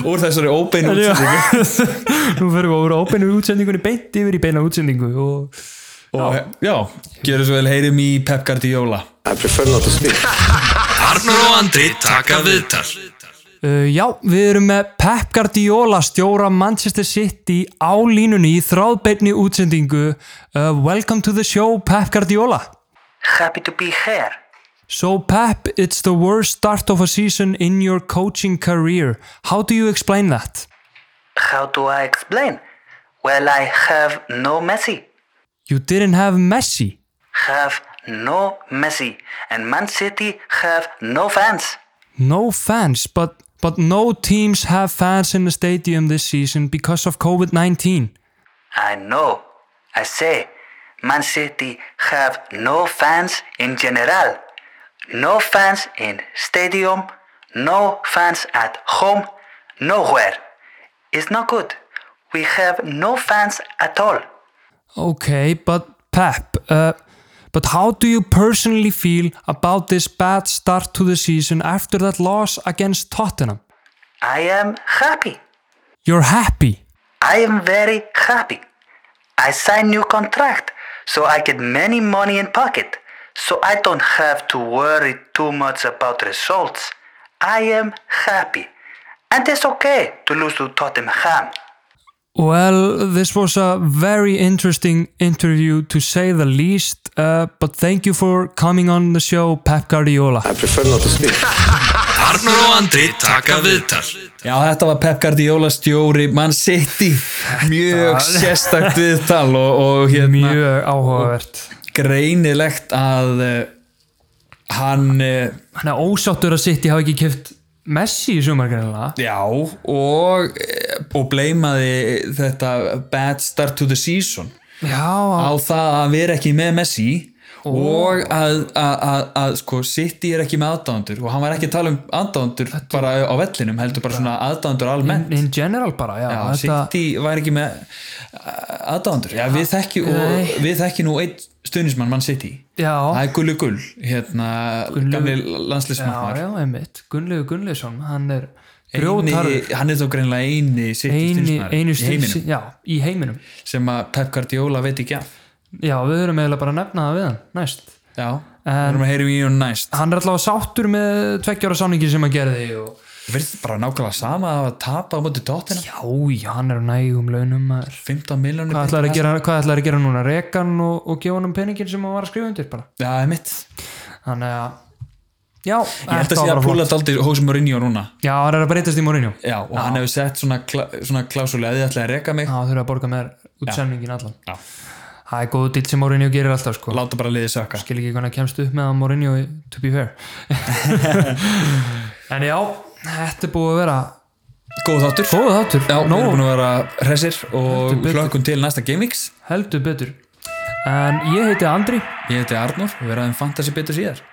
Speaker 1: úr þessari óbeinu útsendingu
Speaker 2: Nú fyrir við úr óbeinu útsendingunni beint yfir í beina útsendingu og
Speaker 1: og já, gjörum svo vel heyrim í Pep Guardiola
Speaker 3: I prefer not to speak.
Speaker 1: Arnur og Andri taka viðtal
Speaker 2: Uh, já, við erum með Pep Guardiola stjóra Manchester City á línunni í þráðbeinni útsendingu uh, Welcome to the show Pep Guardiola
Speaker 4: Happy to be here.
Speaker 2: So Pep, it's the worst start of a season in your coaching career How do you explain that?
Speaker 4: How do I explain? Well, I have no Messi.
Speaker 2: You didn't have Messi
Speaker 4: Have no Messi. And Man City have no fans.
Speaker 2: No fans, but, but no teams have fans in the stadium this season because of COVID-19
Speaker 4: I know. I say, Man City have no fans in general. No fans in stadium. No fans at home. Nowhere. It's not good. We have no fans at all.
Speaker 2: Okay, but Pep, uh, but how do you personally feel about this bad start to the season after that loss against Tottenham?
Speaker 4: I am happy.
Speaker 2: You're happy.
Speaker 4: I am very happy. I sign new contract, so I get many money in pocket. So I don't have to worry too much about results. I am happy. And it's okay to lose to Tottenham.
Speaker 2: Well, this was a very interesting interview to say the least, uh, but thank you for coming on the show, Pep Guardiola.
Speaker 3: I prefer not to speak.
Speaker 5: Arnur og Andri taka viðtal
Speaker 1: Já, þetta var Pep Guardiola stjóri Man City, mjög sérstakt viðtal og, og hérna,
Speaker 2: Mjög áhugavert.
Speaker 1: greinilegt að uh, hann uh,
Speaker 2: Hann er ósáttur að City hafa ekki keft Messi í sumargreinlega.
Speaker 1: já og, eh, og bleimaði þetta bad start to the season
Speaker 2: Já,
Speaker 1: á það að vera ekki með Messi og að, að, að, að sko, City er ekki með aðdándur og hann var ekki að tala um aðdándur bara á vellinum, heldur bara svona aðdándur almennt
Speaker 2: in general bara, já.
Speaker 1: Já,
Speaker 2: þetta-
Speaker 1: City væri ekki með aðdándur, já við þekki og,
Speaker 2: Nei.
Speaker 1: við þekki nú einn stuðnismann mann City
Speaker 2: Já.
Speaker 1: það er Gullu Gull hérna
Speaker 2: Gullu-
Speaker 1: gamli
Speaker 2: Já,
Speaker 1: landslismann
Speaker 2: já, einmitt, Gunnlegu Gunnlegsson hann er grjótarður
Speaker 1: hann er þó greinlega eini City
Speaker 2: eini, einu
Speaker 1: stuðnismaður í
Speaker 2: stils,
Speaker 1: heiminum
Speaker 2: já, í heiminum
Speaker 1: sem að Pep Guardiola veit ekki af
Speaker 2: já, við höfum eiginlega bara að nefna það við hann næst,
Speaker 1: já, við erum að heyrum í hún næst
Speaker 2: hann er allavega sáttur með tveggjara sáningi sem hann gerði og,
Speaker 1: verður bara nákvæmlega sama að tapa á móti tóttina
Speaker 2: já, já, hann er á nægum launum maður.
Speaker 1: 15 miljónir
Speaker 2: hvað ætlar að gera, hvað ætlar að gera núna rekan og, og gefa hann peningin sem hann var að skrifa undir bara,
Speaker 1: já, það er mitt
Speaker 2: þannig að já,
Speaker 1: ég held að
Speaker 2: þetta
Speaker 1: sé
Speaker 2: var
Speaker 1: að
Speaker 2: flott.
Speaker 1: púla daldi hós Mourinho núna
Speaker 2: já, hann er að breytast í morinu
Speaker 1: já, og hann hefur sett svona, kla, svona klásúli að þið ætlaði að reka mig
Speaker 2: Já, þurfa að borga með útsemningin allan
Speaker 1: Já.
Speaker 2: það er góðu dýl sem Mourinho gerir alltaf sko.
Speaker 1: láta bara liðið sökka
Speaker 2: skil ekki hvernig hann kemst upp með að Mourinho to be fair en já, þetta er búið að vera
Speaker 1: góð þáttur
Speaker 2: góðu þáttur
Speaker 1: Já, við
Speaker 2: Nóg-
Speaker 1: erum búin að vera hressir
Speaker 2: Heldur
Speaker 1: og
Speaker 2: betur.
Speaker 1: hlökkum til næsta Gameweeks
Speaker 2: heldur betur en ég heiti Andri
Speaker 1: Ég heiti Arnór, við verðum fantasy betur síðar